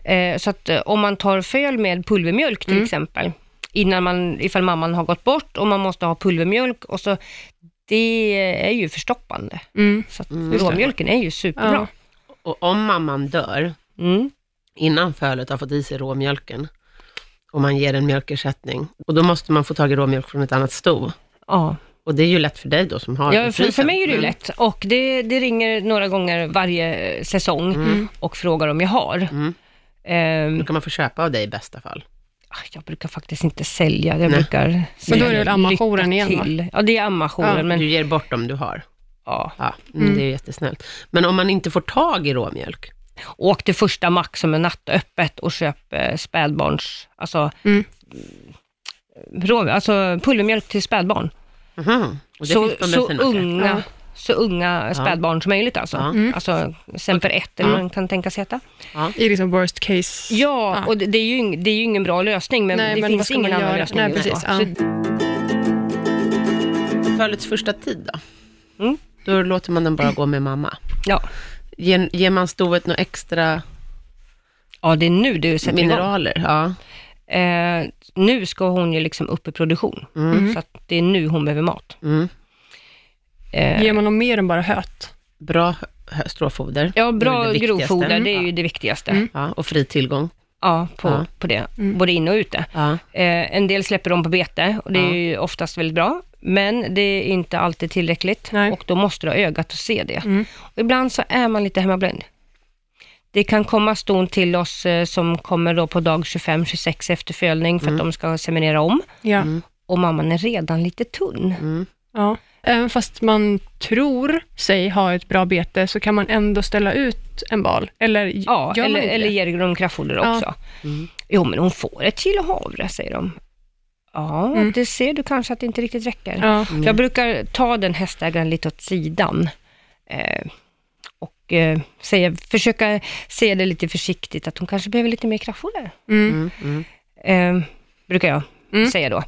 Speaker 3: Eh, så att eh, om man tar föl med pulvermjölk
Speaker 2: Mm.
Speaker 3: till exempel, innan man, ifall mamman har gått bort och man måste ha pulvermjölk och så, det är ju förstoppande.
Speaker 2: Mm.
Speaker 3: Så att råmjölken är ju superbra.
Speaker 1: Och om mamman dör,
Speaker 3: Mm.
Speaker 1: innan fölet har fått i sig råmjölken, och man ger en mjölkersättning, och då måste man få tag i råmjölk från ett annat sto.
Speaker 3: Ja.
Speaker 1: Och det är ju lätt för dig då som har
Speaker 3: Ja, för, för
Speaker 1: frysen.
Speaker 3: mig är det ju
Speaker 1: Men-
Speaker 3: lätt och det, det ringer några gånger varje eh, säsong
Speaker 2: Mm.
Speaker 3: och frågar om jag har. Ehm, ah,
Speaker 1: Då kan man få köpa av dig i bästa fall.
Speaker 3: jag brukar faktiskt inte sälja, jag brukar
Speaker 2: Men då
Speaker 3: säga
Speaker 2: är det väl ammajouren
Speaker 3: lycka
Speaker 2: igen, va?
Speaker 3: till. Ja, det är ammajouren,
Speaker 1: Du
Speaker 2: Ja.
Speaker 3: men
Speaker 1: ger bort dem du har.
Speaker 3: ja.
Speaker 1: Ja, mm, Det är jättesnällt. Men om man inte får tag i råmjölk,
Speaker 3: Åk till första Max som är nattöppet och köp eh, spädbarns, alltså,
Speaker 2: Mm.
Speaker 3: rå, alltså pulvermjölk till spädbarn.
Speaker 1: mhm, och det
Speaker 3: Så,
Speaker 1: finns på
Speaker 3: så,
Speaker 1: bensinmackar.
Speaker 3: unga,
Speaker 2: Ja.
Speaker 3: så unga spädbarn som möjligt alltså.
Speaker 1: Ja.
Speaker 2: Mm.
Speaker 3: Alltså Semper 1 eller vad man kan tänka sig heta.
Speaker 2: I liksom worst case.
Speaker 3: Ja,
Speaker 2: Ja.
Speaker 3: och det, det, är ju ing, det är ju ingen bra lösning, men
Speaker 2: Nej,
Speaker 3: det
Speaker 2: men vad
Speaker 3: finns
Speaker 2: ska
Speaker 3: ingen
Speaker 2: man
Speaker 3: annan
Speaker 2: göra?
Speaker 3: lösning.
Speaker 2: Nej,
Speaker 3: just nu.
Speaker 2: precis,
Speaker 3: Så-
Speaker 1: Fölets första tid då?
Speaker 3: Mm.
Speaker 1: Då låter man den bara gå med mamma.
Speaker 3: ja.
Speaker 1: Ger, ger man stoet några extra
Speaker 3: ja, det är nu du sätter igång.
Speaker 1: mineraler? Ja.
Speaker 3: Eh, nu ska hon ju liksom upp i produktion, så att det är nu hon behöver mat.
Speaker 1: Mm.
Speaker 3: Eh,
Speaker 2: Ger man dem mer än bara höet?
Speaker 1: Bra hö- stråfoder.
Speaker 3: ja,
Speaker 1: Det är
Speaker 3: bra
Speaker 1: det viktigaste.
Speaker 3: grovfoder, det är ju det viktigaste.
Speaker 1: Ja, och fri tillgång.
Speaker 3: Ja, på,
Speaker 1: Ja.
Speaker 3: på det,
Speaker 2: Mm.
Speaker 3: både inne och ute.
Speaker 1: Ja.
Speaker 3: Eh, en del släpper de på bete och det
Speaker 1: Ja.
Speaker 3: är ju oftast väldigt bra, men det är inte alltid tillräckligt
Speaker 2: Nej. Mm.
Speaker 3: och då måste du ha ögat och se det. Och ibland så är man lite hemmablind. Det kan komma ston till oss eh, som kommer då på dag 25-26 efter fölning för
Speaker 2: Mm.
Speaker 3: att de ska seminera om
Speaker 2: Ja.
Speaker 3: och mamman är redan lite tunn.
Speaker 1: Mm,
Speaker 2: Ja. Även fast man tror sig ha ett bra bete, så kan man ändå ställa ut en bal. Eller
Speaker 3: Ja,
Speaker 2: gör
Speaker 3: eller,
Speaker 2: man inte
Speaker 3: eller
Speaker 2: det?
Speaker 3: ger dem kraftfoder
Speaker 2: Ja.
Speaker 3: också. Jo, men hon får ett kilo havre, säger de. Ja,
Speaker 2: Mm.
Speaker 3: det ser du kanske att det inte riktigt räcker.
Speaker 2: Ja.
Speaker 3: Så Jag brukar ta den hästägaren lite åt sidan eh, och eh, säga, försöka säga det lite försiktigt, att hon kanske behöver lite mer kraftfoder.
Speaker 2: Mm.
Speaker 3: Eh, brukar jag
Speaker 2: Mm.
Speaker 3: säga då.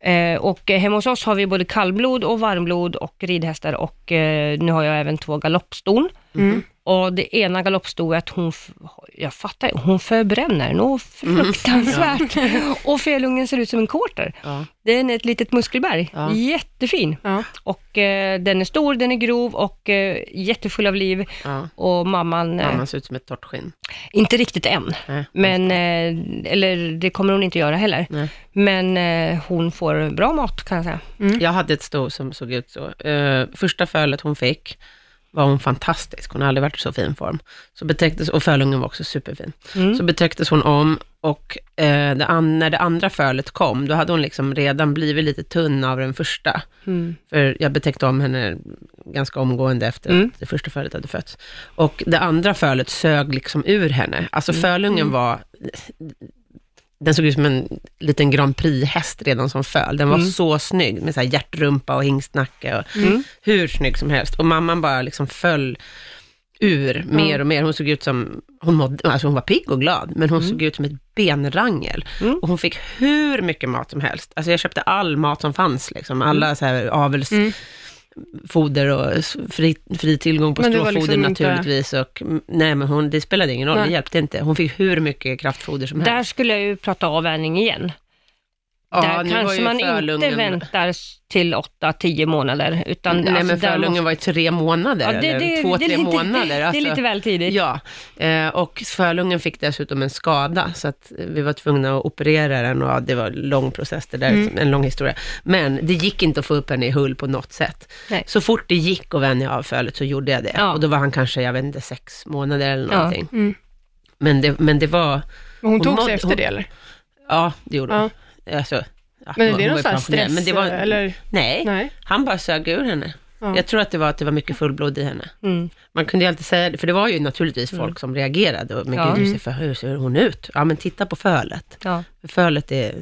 Speaker 3: Eh, och eh, hemma hos oss har vi både kallblod och varmblod och ridhästar och eh, nu har jag även två galoppston.
Speaker 2: Mm.
Speaker 3: Och det ena galoppstoet, hon, f- jag fattar ju, hon förbränner något
Speaker 2: Mm.
Speaker 3: fruktansvärt. Och felungen ser ut som en quarter.
Speaker 1: Ja.
Speaker 3: Den är ett litet muskelberg,
Speaker 1: Ja.
Speaker 3: jättefin.
Speaker 2: Ja.
Speaker 3: Och eh, den är stor, den är grov och eh, jättefull av liv.
Speaker 1: Ja.
Speaker 3: Och mamman, eh,
Speaker 1: Mamman ser ut som ett torrt skinn.
Speaker 3: inte riktigt än,
Speaker 1: Nej.
Speaker 3: men, eh, eller det kommer hon inte göra heller.
Speaker 1: Nej.
Speaker 3: Men eh, hon får bra mat kan jag säga.
Speaker 1: Jag hade ett sto som såg ut så. Eh, första fölet hon fick var hon fantastisk. Hon har aldrig varit i så fin form. Så betäcktes, och fölungen var också superfin. Så betäcktes hon om och eh, det an, när det andra fölet kom, då hade hon liksom redan blivit lite tunn av den första. För jag betäckte om henne ganska omgående efter att det första fölet hade fötts. Och det andra fölet sög liksom ur henne. Alltså fölungen var den såg ut som en liten Grand Prix-häst redan som föl. Den var
Speaker 2: Mm.
Speaker 1: så snygg med så här hjärtrumpa och hingstnacke. Och Hur snygg som helst. Och mamman bara liksom föll ur mer och mer. Hon såg ut som, hon, mådde, alltså hon var pigg och glad, men
Speaker 2: Mm.
Speaker 1: hon såg ut som ett benrangel. Och hon fick hur mycket mat som helst. Alltså jag köpte all mat som fanns, liksom.
Speaker 2: Mm.
Speaker 1: alla så här avels foder och s- fri, fri tillgång på
Speaker 2: Men det var
Speaker 1: stråfoder
Speaker 2: liksom inte-
Speaker 1: naturligtvis. Och, m- nej, men hon, det spelade ingen roll,
Speaker 2: Nej.
Speaker 1: det hjälpte inte. Hon fick hur mycket kraftfoder som
Speaker 3: Där
Speaker 1: helst.
Speaker 3: skulle jag ju prata avvänjning igen.
Speaker 1: Ja,
Speaker 3: där
Speaker 1: nu var
Speaker 3: kanske
Speaker 1: ju
Speaker 3: man
Speaker 1: Frölungen-
Speaker 3: inte väntar s- till 8-10 månader. Utan
Speaker 1: Nej,
Speaker 3: alltså,
Speaker 1: men
Speaker 3: där
Speaker 1: Frölungen
Speaker 3: måste-
Speaker 1: var ju tre månader,
Speaker 3: Ja, det- det-
Speaker 1: eller två,
Speaker 3: det
Speaker 1: tre
Speaker 3: är lite-
Speaker 1: månader. alltså.
Speaker 3: det är lite väl tidigt.
Speaker 1: Ja, eh, och Frölungen fick dessutom en skada, så att vi var tvungna att operera den och ja, det var en lång process, det där,
Speaker 3: Mm.
Speaker 1: är en lång historia. Men det gick inte att få upp henne i hull på något sätt.
Speaker 3: Nej.
Speaker 1: Så fort det gick att vänja av fölet så gjorde jag det.
Speaker 3: Ja.
Speaker 1: Och då var han kanske, jag vet inte, sex månader eller
Speaker 3: Ja.
Speaker 1: någonting.
Speaker 2: Mm.
Speaker 1: Men, det, men det var,
Speaker 2: Men hon tog
Speaker 1: mådde-
Speaker 2: sig efter
Speaker 1: hon-
Speaker 2: det eller?
Speaker 1: ja det gjorde
Speaker 2: Ja.
Speaker 1: hon. Alltså, ja,
Speaker 2: Men
Speaker 1: hon
Speaker 2: är det
Speaker 1: var
Speaker 2: någon
Speaker 1: ju
Speaker 2: sån här
Speaker 1: pensionär,
Speaker 2: stress?
Speaker 1: men det var-
Speaker 2: eller?
Speaker 1: Nej,
Speaker 2: Nej.
Speaker 1: han bara sög ur henne.
Speaker 2: Ja.
Speaker 1: Jag tror att det var att det var mycket fullblod i henne.
Speaker 3: Mm.
Speaker 1: Man kunde ju alltid säga det, för det var ju naturligtvis folk som reagerade. Och, men
Speaker 3: Ja.
Speaker 1: gud, hur ser, för, hur ser hon ut? Ja, men titta på fölet.
Speaker 3: Ja.
Speaker 1: Fölet är...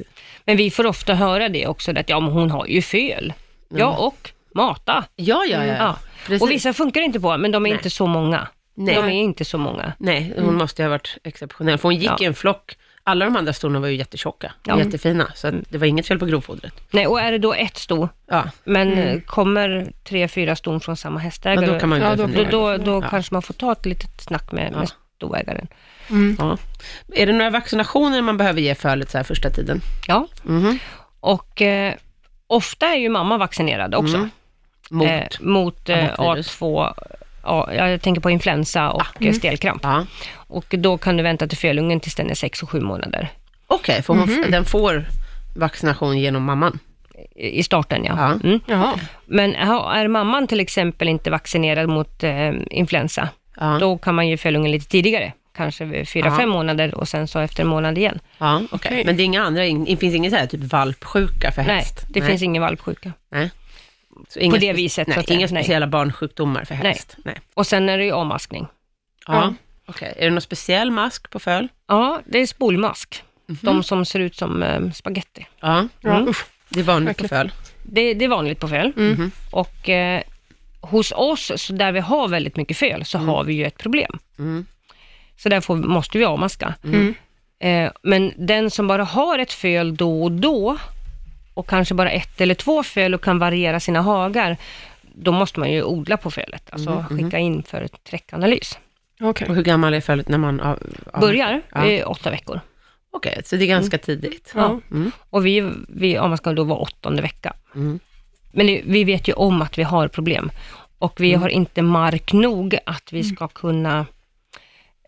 Speaker 3: Men vi får ofta höra det också, att ja, men hon har ju föl. Ja,
Speaker 1: Mm.
Speaker 3: och mata.
Speaker 1: Ja, ja, Mm, ja.
Speaker 3: Ja.
Speaker 1: Precis.
Speaker 3: Och vissa funkar inte på, men de är
Speaker 1: Nej.
Speaker 3: inte så många.
Speaker 1: Nej.
Speaker 3: De är inte så många.
Speaker 1: Nej, hon måste ju ha varit exceptionell, för hon gick
Speaker 3: Ja.
Speaker 1: i en flock. Alla de andra storna var ju jättetjocka och
Speaker 3: Ja.
Speaker 1: jättefina, så att det var inget fel på grovfodret.
Speaker 3: Nej, och är det då ett sto,
Speaker 1: Ja,
Speaker 3: men eh, kommer tre, fyra ston från samma hästägare,
Speaker 1: men Mm. då kan man ju börja
Speaker 2: Ja, då-
Speaker 3: då,
Speaker 1: fundera.
Speaker 3: då, då
Speaker 1: Ja.
Speaker 3: kanske man får ta ett litet snack med, med stoägaren.
Speaker 1: Ja. Är det några vaccinationer man behöver ge fölet så här första tiden?
Speaker 3: Ja,
Speaker 1: Mhm.
Speaker 3: och eh, ofta är ju mamma vaccinerad också.
Speaker 1: Mm, Mot?
Speaker 3: Eh, mot eh,
Speaker 1: Abortvirus.
Speaker 3: A2, ja, jag tänker på
Speaker 1: Ah,
Speaker 3: influensa och
Speaker 1: mm.
Speaker 3: eh, stelkramp.
Speaker 1: Ja.
Speaker 3: Och då kan du vänta till fölungen tills den är 6 och 7 månader.
Speaker 1: Okej, för hon, den får vaccination genom mamman?
Speaker 3: I i starten ja.
Speaker 1: Ja.
Speaker 3: Mm.
Speaker 2: Jaha.
Speaker 3: Men ha- är mamman till exempel inte vaccinerad mot eh, influensa,
Speaker 1: Ja.
Speaker 3: då kan man ge fölungen lite tidigare. Kanske vid 4-5 månader och sen så efter en månad igen.
Speaker 1: Ja, okej.
Speaker 2: Okej.
Speaker 1: Men det är inga andra, det finns ingen så här typ valpsjuka för
Speaker 3: Äh, Nej,
Speaker 1: häst?
Speaker 3: det finns ingen valpsjuka.
Speaker 1: Så inga
Speaker 3: på det
Speaker 1: spe-
Speaker 3: viset,
Speaker 1: Nej,
Speaker 3: så att säga.
Speaker 1: inga
Speaker 3: Nej.
Speaker 1: speciella barnsjukdomar för
Speaker 3: Nej.
Speaker 1: häst? Nej.
Speaker 3: Och sen är det ju avmaskning.
Speaker 1: Ja.
Speaker 2: Ja.
Speaker 1: Okej, är det någon speciell mask på föl?
Speaker 3: Ja, det är spolmask. Mm-hmm. De som ser ut som eh, spaghetti.
Speaker 1: Ja,
Speaker 2: Ja,
Speaker 3: Mm.
Speaker 2: usch.
Speaker 1: det är vanligt på
Speaker 2: Verkligen.
Speaker 1: föl.
Speaker 3: Det, det är vanligt på föl. Och eh, hos oss, så där vi har väldigt mycket föl, så har vi ju ett problem.
Speaker 1: Mm.
Speaker 3: Så därför måste vi avmaska. Eh, men den som bara har ett föl då och då, och kanske bara ett eller två föl och kan variera sina hagar, då måste man ju odla på fölet, alltså
Speaker 1: Mm.
Speaker 3: skicka in för ett träckanalys.
Speaker 2: Okej.
Speaker 1: Och hur gammal är fölet när man av, av,
Speaker 3: Börjar
Speaker 1: Ja.
Speaker 3: i åtta veckor.
Speaker 1: Okej, så det är
Speaker 3: Mm.
Speaker 1: ganska tidigt.
Speaker 2: Ja.
Speaker 3: Och vi, vi avmaskar då var åttonde vecka.
Speaker 1: Mm.
Speaker 3: Men det, vi vet ju om att vi har problem och
Speaker 1: Mm.
Speaker 3: vi har inte mark nog att vi ska kunna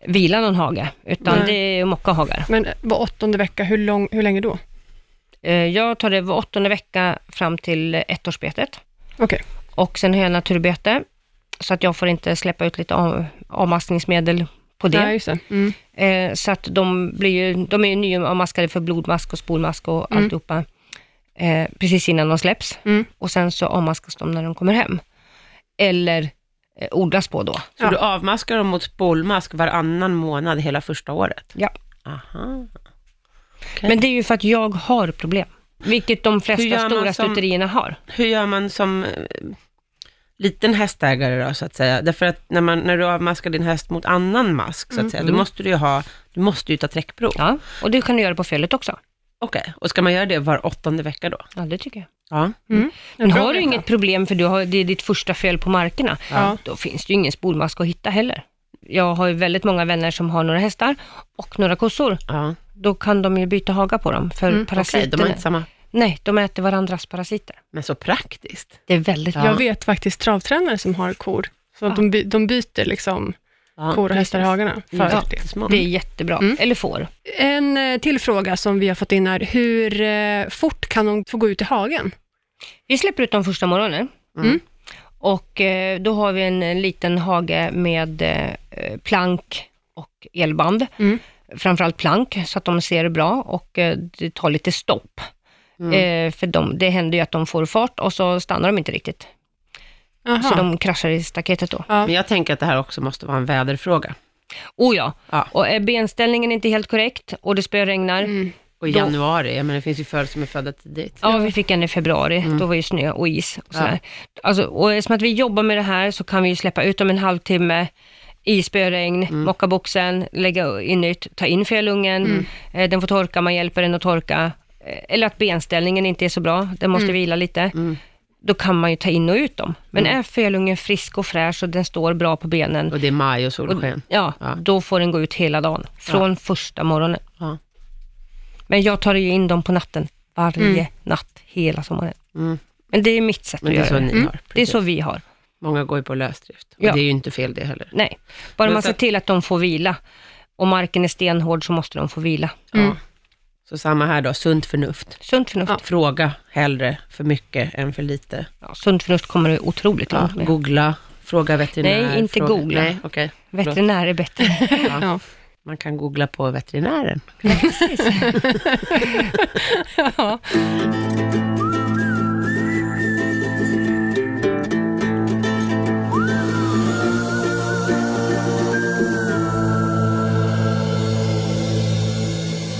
Speaker 3: vila någon hage, utan
Speaker 2: Nej.
Speaker 3: det är mocka hagar.
Speaker 2: Men var åttonde vecka, hur, lång, hur länge då?
Speaker 3: Eh, Jag tar det var åttonde vecka fram till ettårsbetet
Speaker 2: Okej.
Speaker 3: och sen har jag naturbete, så att jag får inte släppa ut lite av, avmaskningsmedel på det.
Speaker 2: Nej, just det. Mm.
Speaker 3: Eh, så att de, blir ju, de är ju nyavmaskade för blodmask och spolmask och
Speaker 1: Mm.
Speaker 3: alltihopa eh, precis innan de släpps.
Speaker 2: Mm.
Speaker 3: Och sen så avmaskas de när de kommer hem. Eller eh, odlas på då.
Speaker 1: Så
Speaker 2: Ja.
Speaker 1: du avmaskar dem mot spolmask varannan månad hela första året?
Speaker 3: Ja.
Speaker 1: Aha.
Speaker 3: Men det är ju för att jag har problem. Vilket de
Speaker 1: Hur gör
Speaker 3: flesta
Speaker 1: man
Speaker 3: stora
Speaker 1: som-
Speaker 3: stuterierna har.
Speaker 1: Hur gör man som eh, liten hästägare då, så att säga? Därför att när, man, när du avmaskar din häst mot annan mask, så att säga, då måste du ju ha, du måste ju ta träckprov.
Speaker 3: Ja, och det kan du göra på felet också.
Speaker 1: Okej, och ska man göra det var åttonde vecka då?
Speaker 3: Ja, det tycker jag.
Speaker 1: Ja.
Speaker 3: Men
Speaker 2: Mm. Bra
Speaker 3: har du
Speaker 2: veta.
Speaker 3: inget problem, för du har, det är ditt första fel på markerna,
Speaker 2: Ja.
Speaker 3: då finns det ju ingen spolmask att hitta heller. Jag har ju väldigt många vänner som har några hästar och några kossor.
Speaker 1: ja.
Speaker 3: då kan de ju byta haga på dem, för
Speaker 1: Mm, Okej,
Speaker 3: parasiterna...
Speaker 1: de har inte samma...
Speaker 3: Nej, de äter varandras parasiter.
Speaker 1: Men så praktiskt.
Speaker 3: Det är väldigt
Speaker 1: Ja.
Speaker 3: bra.
Speaker 2: Jag vet faktiskt travtränare som har kor. Så att
Speaker 3: Ja.
Speaker 2: de, by, de byter liksom
Speaker 1: Ja.
Speaker 2: kor och hästar i hagarna. För
Speaker 1: Ja.
Speaker 2: det.
Speaker 1: Jättesmart.
Speaker 3: Det är jättebra.
Speaker 2: Mm.
Speaker 3: Eller får.
Speaker 2: En eh, till fråga som vi har fått in är, hur eh, fort kan de få gå ut i hagen?
Speaker 3: Vi släpper ut dem första morgonen.
Speaker 1: Mm.
Speaker 3: Och eh, då har vi en eh, liten hage med eh, plank och elband.
Speaker 2: Mm.
Speaker 3: Framförallt plank, så att de ser bra och eh, det tar lite stopp. Eh, för de, det händer ju att de får fart och så stannar de inte riktigt.
Speaker 2: Aha.
Speaker 3: Så de kraschar i staketet då.
Speaker 1: Men jag tänker att det här också måste vara en väderfråga.
Speaker 3: Oh ja. eh,
Speaker 1: Ja.
Speaker 3: Och är benställningen inte helt korrekt och det spöregnar,
Speaker 1: Och i
Speaker 3: Då-
Speaker 1: januari, jag menar det finns ju föl som är födda tidigt.
Speaker 3: Ja, vi fick en i februari. Då var ju snö och is. Och, sådär. Alltså, och eftersom att vi jobbar med det här så kan vi ju släppa ut dem en halvtimme i spöregn, mocka boxen, lägga in nytt, ta in fjällungen, eh, den får torka, man hjälper den att torka. Eh, Eller att benställningen inte är så bra, den måste vila lite. Då kan man ju ta in och ut dem. Men är fjällungen frisk och fräsch och den står bra på benen,
Speaker 1: Och det är maj och solsken.
Speaker 3: Mm, ja,
Speaker 1: Ja.
Speaker 3: då får den gå ut hela dagen, från första morgonen.
Speaker 1: Ja.
Speaker 3: Men jag tar ju in dem på natten, varje natt, hela sommaren.
Speaker 1: Mm.
Speaker 3: Men det är mitt sätt
Speaker 1: Men
Speaker 3: att
Speaker 1: det är
Speaker 3: göra
Speaker 1: så
Speaker 3: det. Mm.
Speaker 1: ni har.
Speaker 3: Det är så
Speaker 1: precis.
Speaker 3: vi har.
Speaker 1: Många går ju på lösdrift. Och
Speaker 3: Ja.
Speaker 1: det är ju inte fel det heller.
Speaker 3: Nej, bara
Speaker 1: Men
Speaker 3: man
Speaker 1: så-
Speaker 3: ser till att de får vila. Om marken är stenhård så måste de få vila.
Speaker 2: Mm.
Speaker 1: Ja. Så samma här då, sunt förnuft.
Speaker 3: Sunt förnuft. Ja.
Speaker 1: Fråga hellre för mycket än för lite.
Speaker 3: sunt förnuft kommer du otroligt
Speaker 1: Ja,
Speaker 3: långt med.
Speaker 1: googla, fråga veterinär.
Speaker 3: Nej, inte
Speaker 1: fråga.
Speaker 3: googla.
Speaker 1: Nej, okej.
Speaker 3: Veterinär är bättre.
Speaker 2: Ja.
Speaker 1: Man kan googla på veterinären.
Speaker 2: Ja.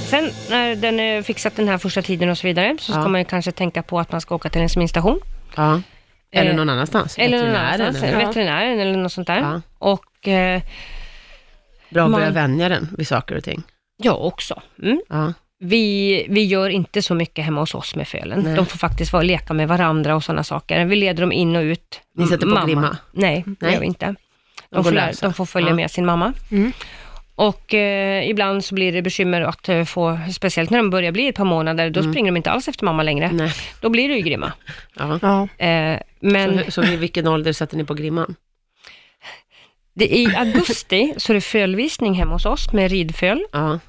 Speaker 3: Sen när den är fixat den här första tiden och så vidare, så ska
Speaker 1: Ja.
Speaker 3: man ju kanske tänka på att man ska åka till en sminstation.
Speaker 1: Ja. Eller
Speaker 3: Eh,
Speaker 1: någon annanstans.
Speaker 3: Eller någon
Speaker 1: Veterinären,
Speaker 3: annanstans.
Speaker 1: eller-
Speaker 3: Veterinären eller något sånt där.
Speaker 1: Ja.
Speaker 3: Och eh,
Speaker 1: Bra att börja
Speaker 3: Man-
Speaker 1: vänja den vid saker och ting.
Speaker 3: jag också. Mm.
Speaker 1: Ja.
Speaker 3: Vi, vi gör inte så mycket hemma hos oss med fölen.
Speaker 1: Nej.
Speaker 3: De får faktiskt vara och leka med varandra och sådana saker. Vi leder dem in och ut.
Speaker 1: Ni sätter på
Speaker 3: Mamma.
Speaker 1: glimma?
Speaker 3: Nej, det
Speaker 1: Nej.
Speaker 3: gör vi inte.
Speaker 1: går
Speaker 3: De får, lära,
Speaker 1: lösa.
Speaker 3: de får följa
Speaker 1: Ja.
Speaker 3: med sin mamma.
Speaker 2: Mm.
Speaker 3: Och eh, ibland så blir det bekymmer att eh, få, speciellt när de börjar bli ett par månader,
Speaker 1: Mm.
Speaker 3: då springer de inte alls efter mamma längre.
Speaker 1: Nej.
Speaker 3: Då blir det ju grimma.
Speaker 1: Ja.
Speaker 2: Ja.
Speaker 3: Eh, men
Speaker 1: Så, så vid vilken ålder sätter ni på grimman?
Speaker 3: det, i augusti så är det fölvisning hemma hos oss med ridföl.
Speaker 1: Ja.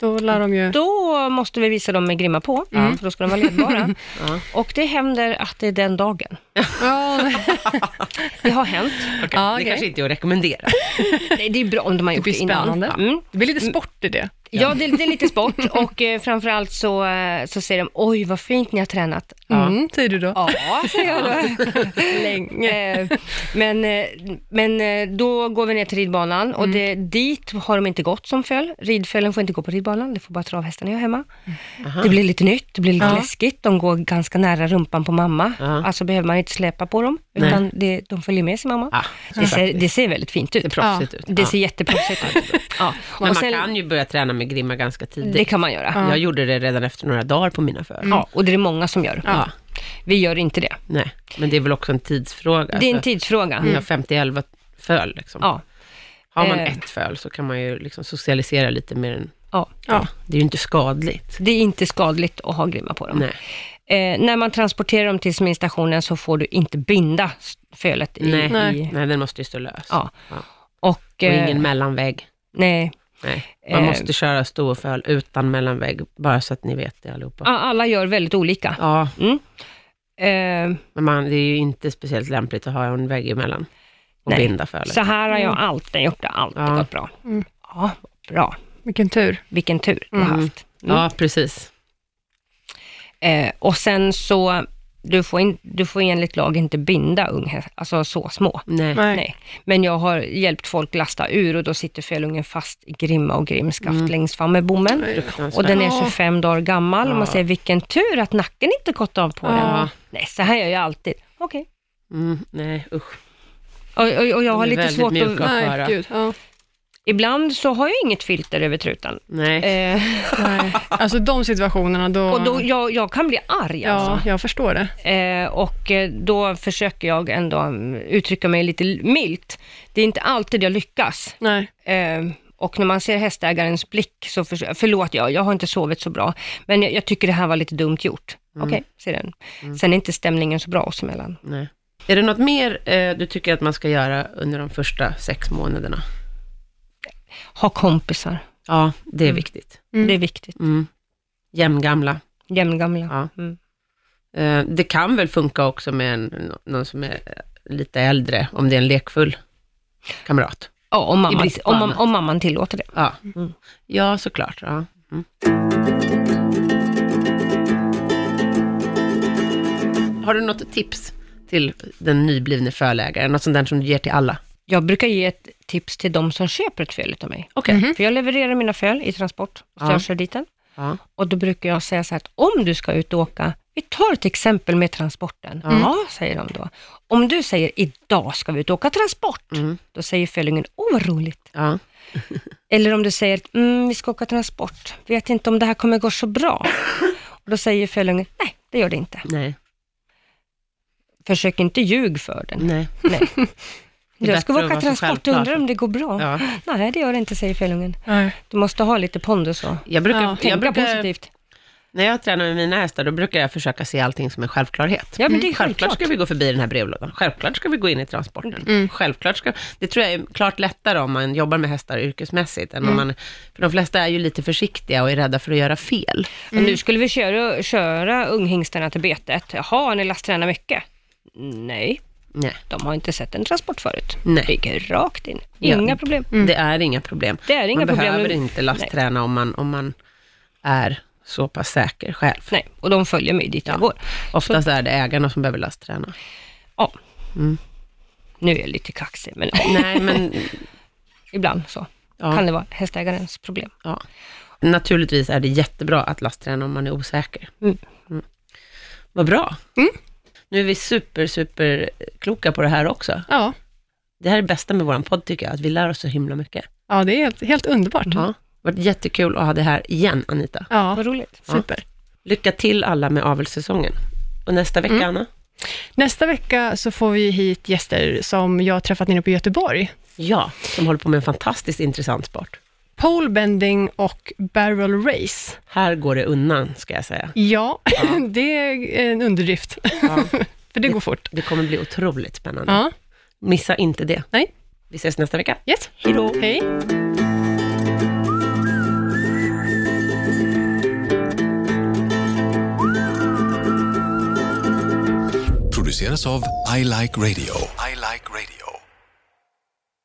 Speaker 2: Då lär de ju...
Speaker 3: Då måste vi visa dem med grimma på, för då ska de vara ledbara.
Speaker 1: Ja.
Speaker 3: Och det händer att det är den dagen.
Speaker 2: Ja,
Speaker 3: Det har hänt.
Speaker 2: Ja,
Speaker 1: Det
Speaker 2: okej.
Speaker 1: kanske inte är att rekommendera.
Speaker 3: Nej, Det är bra om de har gjort
Speaker 2: blir
Speaker 3: det, innan.
Speaker 2: spännande.
Speaker 3: Mm.
Speaker 2: Det blir lite sport i det.
Speaker 3: Ja, det, det är lite sport och eh, framförallt så, eh, så säger de, oj vad fint ni har tränat.
Speaker 2: Mm, säger du då.
Speaker 3: Ja, säger jag då.
Speaker 2: Länge.
Speaker 3: Eh, men, eh, men eh, då går vi ner till ridbanan
Speaker 1: Mm.
Speaker 3: och det, dit har de inte gått som föl. Ridfölen får inte gå på ridbanan, det får bara travhästarna göra hemma.
Speaker 1: Aha.
Speaker 3: Det blir lite nytt, det blir lite
Speaker 2: Ja.
Speaker 3: läskigt, de går ganska nära rumpan på mamma.
Speaker 1: Ja.
Speaker 3: Alltså behöver man inte släpa på dem,
Speaker 1: Nej.
Speaker 3: utan det, de följer med sin mamma.
Speaker 1: Ja,
Speaker 3: Det ser,
Speaker 1: faktiskt.
Speaker 3: det ser väldigt fint
Speaker 1: Det är
Speaker 3: ut.
Speaker 1: proffsigt ut.
Speaker 3: Det
Speaker 1: Ja.
Speaker 3: ser jätteproffsigt ut. Ja.
Speaker 1: Men
Speaker 3: Och
Speaker 1: man
Speaker 3: sen-
Speaker 1: kan ju börja träna med grimma ganska tidigt.
Speaker 3: Det kan man göra.
Speaker 2: Ja.
Speaker 1: Jag gjorde det redan efter några dagar på mina föl.
Speaker 3: Ja, och det är det många som gör.
Speaker 1: Ja.
Speaker 3: Vi gör inte det.
Speaker 1: Nej, men det är väl också en tidsfråga.
Speaker 3: Det är en
Speaker 1: Alltså,
Speaker 3: tidsfråga.
Speaker 1: Ni har 50-11 föl. Liksom.
Speaker 3: Mm. Ja,
Speaker 1: Har man
Speaker 3: Eh.
Speaker 1: ett föl så kan man ju liksom socialisera lite med den.
Speaker 3: ja.
Speaker 2: Ja.
Speaker 1: Det är ju inte skadligt.
Speaker 3: Det är inte skadligt att ha grimma på dem.
Speaker 1: Nej.
Speaker 3: Eh, när man transporterar dem till seminstationen så får du inte binda s- fölet i...
Speaker 1: Nej.
Speaker 3: i
Speaker 1: Nej. den måste ju stå lös.
Speaker 3: ja.
Speaker 1: Ja.
Speaker 3: Och,
Speaker 1: Och
Speaker 3: eh,
Speaker 1: ingen mellanvägg.
Speaker 3: nej,
Speaker 1: Nej. Man
Speaker 3: Eh.
Speaker 1: måste köra storföl utan mellanvägg, bara så att ni vet det allihopa.
Speaker 3: a- alla gör väldigt olika.
Speaker 1: Ja,
Speaker 3: Eh,
Speaker 1: men man, det är ju inte speciellt lämpligt att ha en vägg emellan och
Speaker 3: Nej.
Speaker 1: binda fölet.
Speaker 3: så här har jag alltid gjort det, alltid
Speaker 1: Ja.
Speaker 3: gått bra.
Speaker 2: Mm.
Speaker 3: Ja, bra.
Speaker 2: Vilken tur.
Speaker 3: Vilken tur du har
Speaker 1: Mm.
Speaker 3: haft. Mm.
Speaker 1: Ja, precis.
Speaker 3: Eh, och sen så, du får, in, du får enligt lag inte binda unghästar, alltså så små.
Speaker 1: Nej.
Speaker 2: Nej.
Speaker 3: Nej. Men jag har hjälpt folk lasta ur och då sitter fölungen fast i grimma och grimskaft
Speaker 1: Mm.
Speaker 3: längst fram med bommen.
Speaker 1: Fruktansvärt.
Speaker 3: Och den är
Speaker 2: Ja.
Speaker 3: 25 dagar gammal och man
Speaker 1: Ja.
Speaker 3: säger vilken tur att nacken inte gått av på den.
Speaker 2: Ja.
Speaker 3: Nej, så här gör jag alltid. Okej.
Speaker 1: Mm, nej, usch.
Speaker 3: Och, och, och jag har
Speaker 1: är
Speaker 3: lite
Speaker 1: väldigt
Speaker 3: svårt
Speaker 1: mjuka.
Speaker 3: att...
Speaker 1: höra.
Speaker 2: Nej, gud. Ja.
Speaker 3: Ibland så har jag inget filter över trutan.
Speaker 1: Nej.
Speaker 3: Eh,
Speaker 2: Nej. Alltså de situationerna då...
Speaker 3: och då, jag, jag kan bli arg
Speaker 2: ja,
Speaker 3: alltså.
Speaker 2: jag förstår det.
Speaker 3: Eh, och eh, då försöker jag ändå mm, uttrycka mig lite l- milt. Det är inte alltid jag lyckas.
Speaker 2: Nej.
Speaker 3: Eh, och när man ser hästägarens blick så, för, förlåt jag, jag har inte sovit så bra, men jag, jag tycker det här var lite dumt gjort.
Speaker 1: Mm.
Speaker 3: Okej, säger den. Sen är inte stämningen så bra oss emellan.
Speaker 1: nej. Är det något mer eh, du tycker att man ska göra under de första sex månaderna?
Speaker 3: Ha kompisar,
Speaker 1: Ja, det
Speaker 3: Mm.
Speaker 1: är viktigt.
Speaker 3: det är viktigt.
Speaker 1: Mm. Jämngamla.
Speaker 3: Jämngamla.
Speaker 1: Ja.
Speaker 3: Mm.
Speaker 1: Eh, det kan väl funka också med en, någon som är eh, lite äldre, om det är en lekfull kamrat.
Speaker 3: Ja, om,
Speaker 1: I
Speaker 3: mamman,
Speaker 1: brist på
Speaker 3: om, mam-
Speaker 1: annat.
Speaker 3: om mamman tillåter det.
Speaker 1: Ja,
Speaker 3: Mm.
Speaker 1: ja såklart. Ja. Mm. Har du något tips till den nyblivne fölägaren? Något sånt där som du ger till alla?
Speaker 3: Jag brukar ge ett tips till de som köper ett föl utav mig.
Speaker 1: Okej.
Speaker 3: För jag levererar mina föl i transport, så
Speaker 1: Mm. Ja.
Speaker 3: jag kör dit den.
Speaker 1: Ja.
Speaker 3: Och då brukar jag säga så här att om du ska ut och åka, vi tar ett exempel med transporten.
Speaker 1: Mm.
Speaker 3: Ja, säger de då. Om du säger idag ska vi ut och åka transport,
Speaker 1: Mm.
Speaker 3: då säger följningen, åh vad roligt.
Speaker 1: Ja.
Speaker 3: Eller om du säger, mm, vi ska åka transport, vet inte om det här kommer gå så bra. Och då säger följningen, nej det gör det inte.
Speaker 1: Nej.
Speaker 3: Försök inte ljug för den.
Speaker 1: Nej.
Speaker 3: Nej.
Speaker 1: Det är
Speaker 3: Jag ska
Speaker 1: bättre att
Speaker 3: åka
Speaker 1: vara så
Speaker 3: transport,
Speaker 1: självklar.
Speaker 3: undrar om det går bra.
Speaker 1: Ja.
Speaker 3: Nej, det gör det inte, säger Fälungen.
Speaker 2: Nej.
Speaker 3: Du måste ha lite pondus och
Speaker 1: Jag brukar,
Speaker 2: Ja,
Speaker 1: jag
Speaker 3: tänka
Speaker 1: brukar,
Speaker 3: positivt.
Speaker 1: när jag tränar med mina hästar, då brukar jag fööka se allting som en självklarhet.
Speaker 3: Ja, men det är
Speaker 1: Självklart
Speaker 3: självklart. Mm.
Speaker 1: ska vi gå förbi den här brevlådan. Självklart ska vi gå in i transporten. Självklart ska, det tror jag är klart lättare om man jobbar med hästar yrkesmässigt. Än om
Speaker 3: Mm.
Speaker 1: man, för de flesta är ju lite försiktiga och är rädda för att göra fel.
Speaker 3: Och nu skulle vi köra, köra unghingstarna till betet. Jaha, har ni lasttränar mycket? Nej,
Speaker 1: Nej,
Speaker 3: de har inte sett en transport förut.
Speaker 1: Nej.
Speaker 3: Vi gick rakt in.
Speaker 1: Ja.
Speaker 3: Inga problem.
Speaker 1: det är inga problem.
Speaker 3: Mm. Det är inga
Speaker 1: man
Speaker 3: problem.
Speaker 1: behöver inte lastträna om man, om man är så pass säker själv.
Speaker 3: Nej, och de följer mig dit jag går.
Speaker 1: Oftast är det ägarna som behöver lastträna.
Speaker 3: Ja. Nu är jag lite kaxig, men ja,
Speaker 1: Mm. Nej, men
Speaker 3: ibland så
Speaker 1: Ja.
Speaker 3: kan det vara hästägarens problem.
Speaker 1: Ja. Naturligtvis är det jättebra att lastträna om man är osäker.
Speaker 3: Mm.
Speaker 1: Vad bra. Nu är vi super, super kloka på det här också.
Speaker 2: Ja.
Speaker 1: Det här är det bästa med vår podd tycker jag, att vi lär oss så himla mycket.
Speaker 2: ja, det är helt, helt underbart.
Speaker 1: Ja. Det har varit jättekul att ha det här igen, Anita.
Speaker 2: Ja,
Speaker 3: Vad roligt.
Speaker 2: super.
Speaker 1: Lycka till alla med avelssäsongen. Och nästa vecka, Anna?
Speaker 2: Nästa vecka så får vi hit gäster som jag har träffat nere på Göteborg.
Speaker 1: Ja, som håller på med en fantastiskt intressant sport.
Speaker 2: Polebending och barrel race.
Speaker 1: Här går det undan, ska jag säga.
Speaker 2: Ja, det är en underdrift. För det går fort.
Speaker 1: Det kommer bli otroligt spännande.
Speaker 2: Ja,
Speaker 1: Missa inte det.
Speaker 2: nej.
Speaker 1: Vi ses nästa vecka.
Speaker 2: Yes.
Speaker 1: Hej då.
Speaker 2: Hej.
Speaker 4: produceras av I Like Radio. I like radio.